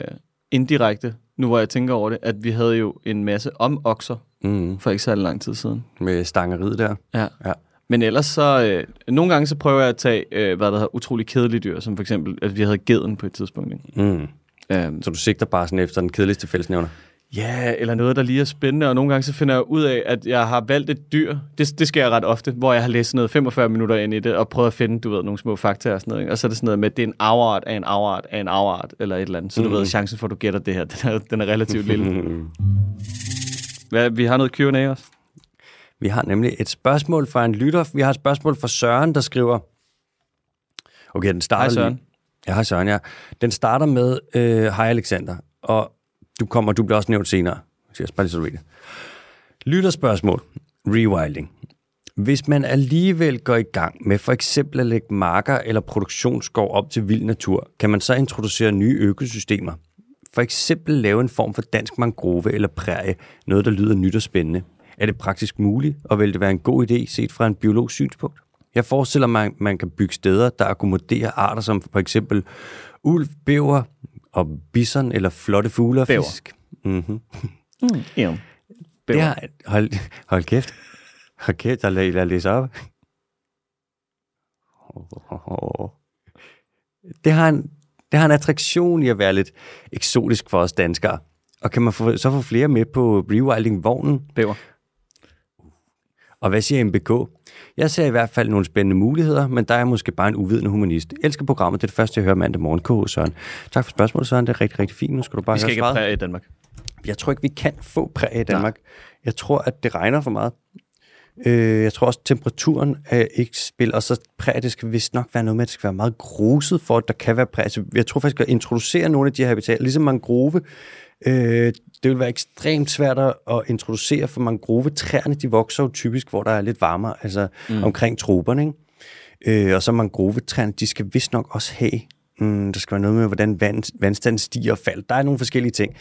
Speaker 2: indirekte, nu hvor jeg tænker over det, at vi havde jo en masse om okser
Speaker 1: Mm.
Speaker 2: for ikke særlig lang tid siden.
Speaker 1: Med stangeriet der.
Speaker 2: Ja.
Speaker 1: Ja.
Speaker 2: Men ellers så, øh, nogle gange så prøver jeg at tage, øh, hvad der hedder, utrolig kedelige dyr, som for eksempel, at vi havde geden på et tidspunkt. Ikke?
Speaker 1: Mm.
Speaker 2: Øhm,
Speaker 1: Så du sigter bare sådan efter den kedeligste fællesnævner?
Speaker 2: ja, eller noget, der lige er spændende, og nogle gange så finder jeg ud af, at jeg har valgt et dyr, det, det sker jeg ret ofte, hvor jeg har læst sådan noget 45 minutter ind i det, og prøvet at finde, du ved, nogle små fakta og sådan noget, ikke? og så er det sådan noget med, at det er en afart af en afart af en afart, eller et eller andet, så du
Speaker 1: Mm.
Speaker 2: ved, chancen for, at du gætter det her, den er, den er relativt lille. Hvad, vi har noget Q&A også?
Speaker 1: Vi har nemlig et spørgsmål fra en lytter. Vi har et spørgsmål fra Søren, der skriver... Okay, den starter
Speaker 2: Hej, Søren.
Speaker 1: Lige. Ja, hej Søren, ja. Den starter med, øh, hej Alexander, og du kommer, du bliver også nævnt senere. Så jeg bare lige så du ved det. Lytterspørgsmål. Rewilding. Hvis man alligevel går i gang med for eksempel at lægge marker eller produktionsskov op til vild natur, kan man så introducere nye økosystemer. For eksempel lave en form for dansk mangrove eller prærie, noget der lyder nyt og spændende. Er det praktisk muligt, og vil det være en god idé set fra en biologs synspunkt? Jeg forestiller mig, at man kan bygge steder, der akkommoderer arter som for eksempel ulv, bæver og bison eller flotte fugle og
Speaker 2: Bæver.
Speaker 1: fisk. Mm-hmm.
Speaker 2: Ja.
Speaker 1: Det har, hold, hold kæft. Hold kæft, der lader jeg læse op. Det har, en, det har en attraktion i at være lidt eksotisk for os danskere. Og kan man få, så få flere med på rewilding-vognen,
Speaker 2: Bæver.
Speaker 1: og hvad siger MBK? Jeg ser i hvert fald nogle spændende muligheder, men der er jeg måske bare en uvidende humanist. Elsker programmet, det er det første, jeg hører mandag morgen. KH Søren. Tak for spørgsmålet, Søren. Det er rigtig, rigtig fint. Nu skal du bare
Speaker 2: Vi skal
Speaker 1: høre
Speaker 2: ikke have
Speaker 1: svaret.
Speaker 2: præge i Danmark.
Speaker 1: Jeg tror ikke, vi kan få præg i Danmark. Nej. Jeg tror, at det regner for meget. Øh, jeg tror også, at temperaturen er ikke spil, og så præg, det skal vist nok være noget med, at det skal være meget gruset for, at der kan være præg. Altså, jeg tror faktisk, at introducere nogle af de her habitater, ligesom mangrove, øh, det vil være ekstremt svært at at introducere, for mangrovetræerne, de vokser jo typisk, hvor der er lidt varmere, altså mm. omkring troberne, ikke? Øh, og så mangrovetræerne, de skal vist nok også have, mm, der skal være noget med, hvordan vand, vandstanden stiger og falder. Der er nogle forskellige ting.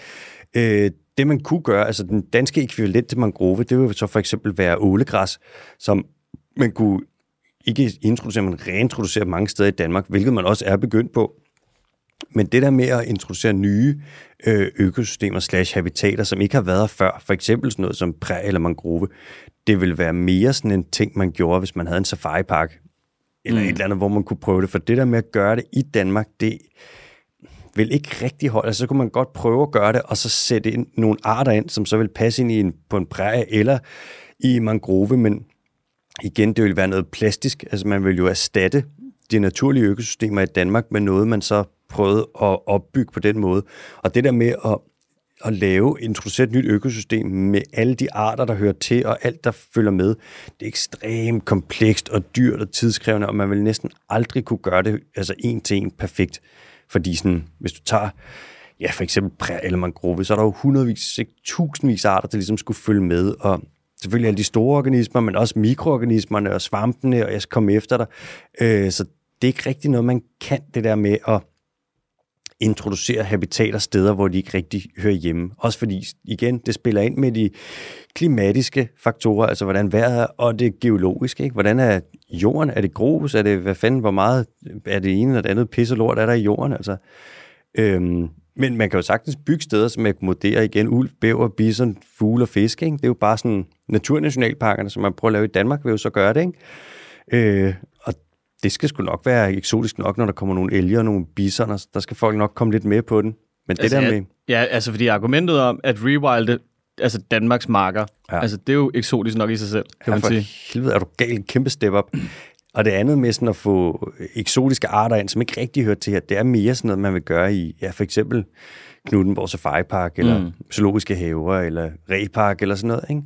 Speaker 1: Øh, det man kunne gøre, altså den danske ekvivalent til mangrove, det ville så for eksempel være ålegræs, som man kunne ikke introducere, men reintroducere mange steder i Danmark, hvilket man også er begyndt på. Men det der med at introducere nye øh, økosystemer slash habitater, som ikke har været her før, for eksempel sådan noget som præ eller mangrove, det ville være mere sådan en ting, man gjorde, hvis man havde en safaripark, eller mm. et eller andet, hvor man kunne prøve det. For det der med at gøre det i Danmark, det vil ikke rigtig holde. Altså, så kunne man godt prøve at gøre det, og så sætte ind nogle arter ind, som så vil passe ind i en, på en præge eller i mangrove, men igen, det vil være noget plastisk. Altså man vil jo erstatte de naturlige økosystemer i Danmark med noget, man så prøvede at opbygge på den måde. Og det der med at, at lave, introducere et nyt økosystem med alle de arter, der hører til, og alt, der følger med, det er ekstremt komplekst og dyrt og tidskrævende, og man vil næsten aldrig kunne gøre det altså en til en perfekt. Fordi sådan, hvis du tager ja, for eksempel præ- eller mangrove, så er der jo hundredvis, ikke tusindvis af arter, der ligesom skulle følge med, og selvfølgelig alle de store organismer, men også mikroorganismerne og svampene, og jeg skal komme efter dig. Øh, så det er ikke rigtig noget, man kan, det der med at introducere habitater steder, hvor de ikke rigtig hører hjemme. Også fordi, igen, det spiller ind med de klimatiske faktorer, altså hvordan vejret er, og det geologiske. Ikke? Hvordan er jorden? Er det grus? Er det, hvad fanden, hvor meget er det ene eller det andet pisse lort er der i jorden? Altså, Øhm, men man kan jo sagtens bygge steder, som akkommoderer igen ulv, bæver, bison, fugle og fisk. Ikke? Det er jo bare sådan naturnationalparkerne, som man prøver at lave i Danmark, vil jo så gøre det. Ikke? Øh, og det skal sgu nok være eksotisk nok, når der kommer nogle elger og nogle bisoner. Der skal folk nok komme lidt med på den. Men det
Speaker 2: altså,
Speaker 1: der med...
Speaker 2: at- Ja, altså fordi argumentet om, at rewilde, altså Danmarks marker,
Speaker 1: Ja.
Speaker 2: ja. altså det er jo eksotisk nok i sig selv, kan
Speaker 1: Ja,
Speaker 2: man
Speaker 1: for
Speaker 2: sige.
Speaker 1: helvede, er du gal, kæmpe step up. Og det andet med sådan at få eksotiske arter ind, som ikke rigtig hører til her, det er mere sådan noget, man vil gøre i, ja, for eksempel Knuttenborg Safari Park, eller mm. Zoologiske Haver, eller Repark, eller sådan noget, ikke?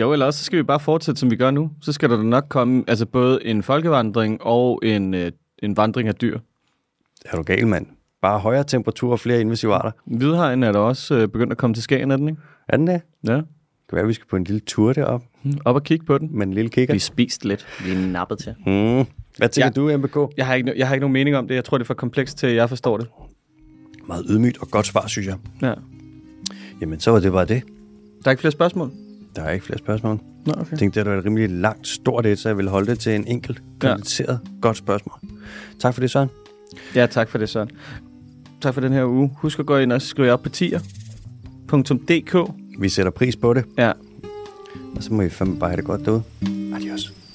Speaker 2: Jo, eller også så skal vi bare fortsætte, som vi gør nu. Så skal der da nok komme altså både en folkevandring og en, øh, en vandring af dyr.
Speaker 1: Er du gal, mand? Bare højere temperaturer og flere invasive arter.
Speaker 2: Hvidhajen er der også øh, begyndt at komme til Skagen, er den ikke?
Speaker 1: Er den der? Det
Speaker 2: Ja.
Speaker 1: kan være, at vi skal på en lille tur derop
Speaker 2: Mm, Op og kigge på den.
Speaker 1: med en lille kigger.
Speaker 3: spist lidt. Vi er nappet til.
Speaker 1: Mm. Hvad tænker ja.
Speaker 2: Ja.
Speaker 1: du, MBK?
Speaker 2: Jeg har, ikke, jeg har ikke nogen mening om det. Jeg tror, det er for komplekst til, at jeg forstår det.
Speaker 1: Meget ydmygt og godt svar, synes jeg.
Speaker 2: Ja.
Speaker 1: Jamen, så var det bare det.
Speaker 2: Der er ikke flere spørgsmål?
Speaker 1: Der er ikke flere spørgsmål.
Speaker 2: Nå, okay.
Speaker 1: Jeg tænkte, det var et rimelig langt, stort et, så jeg ville holde det til en enkelt,
Speaker 2: Ja.
Speaker 1: kompliceret, ja. godt spørgsmål. Tak for det, Søren.
Speaker 2: Ja, tak for det, Søren. Tak for den her uge. Husk at gå ind og skrive jer op på tier.dk.
Speaker 1: Vi sætter pris på det,
Speaker 2: Ja,
Speaker 1: og så må I fandme bare have det godt derude. Adios.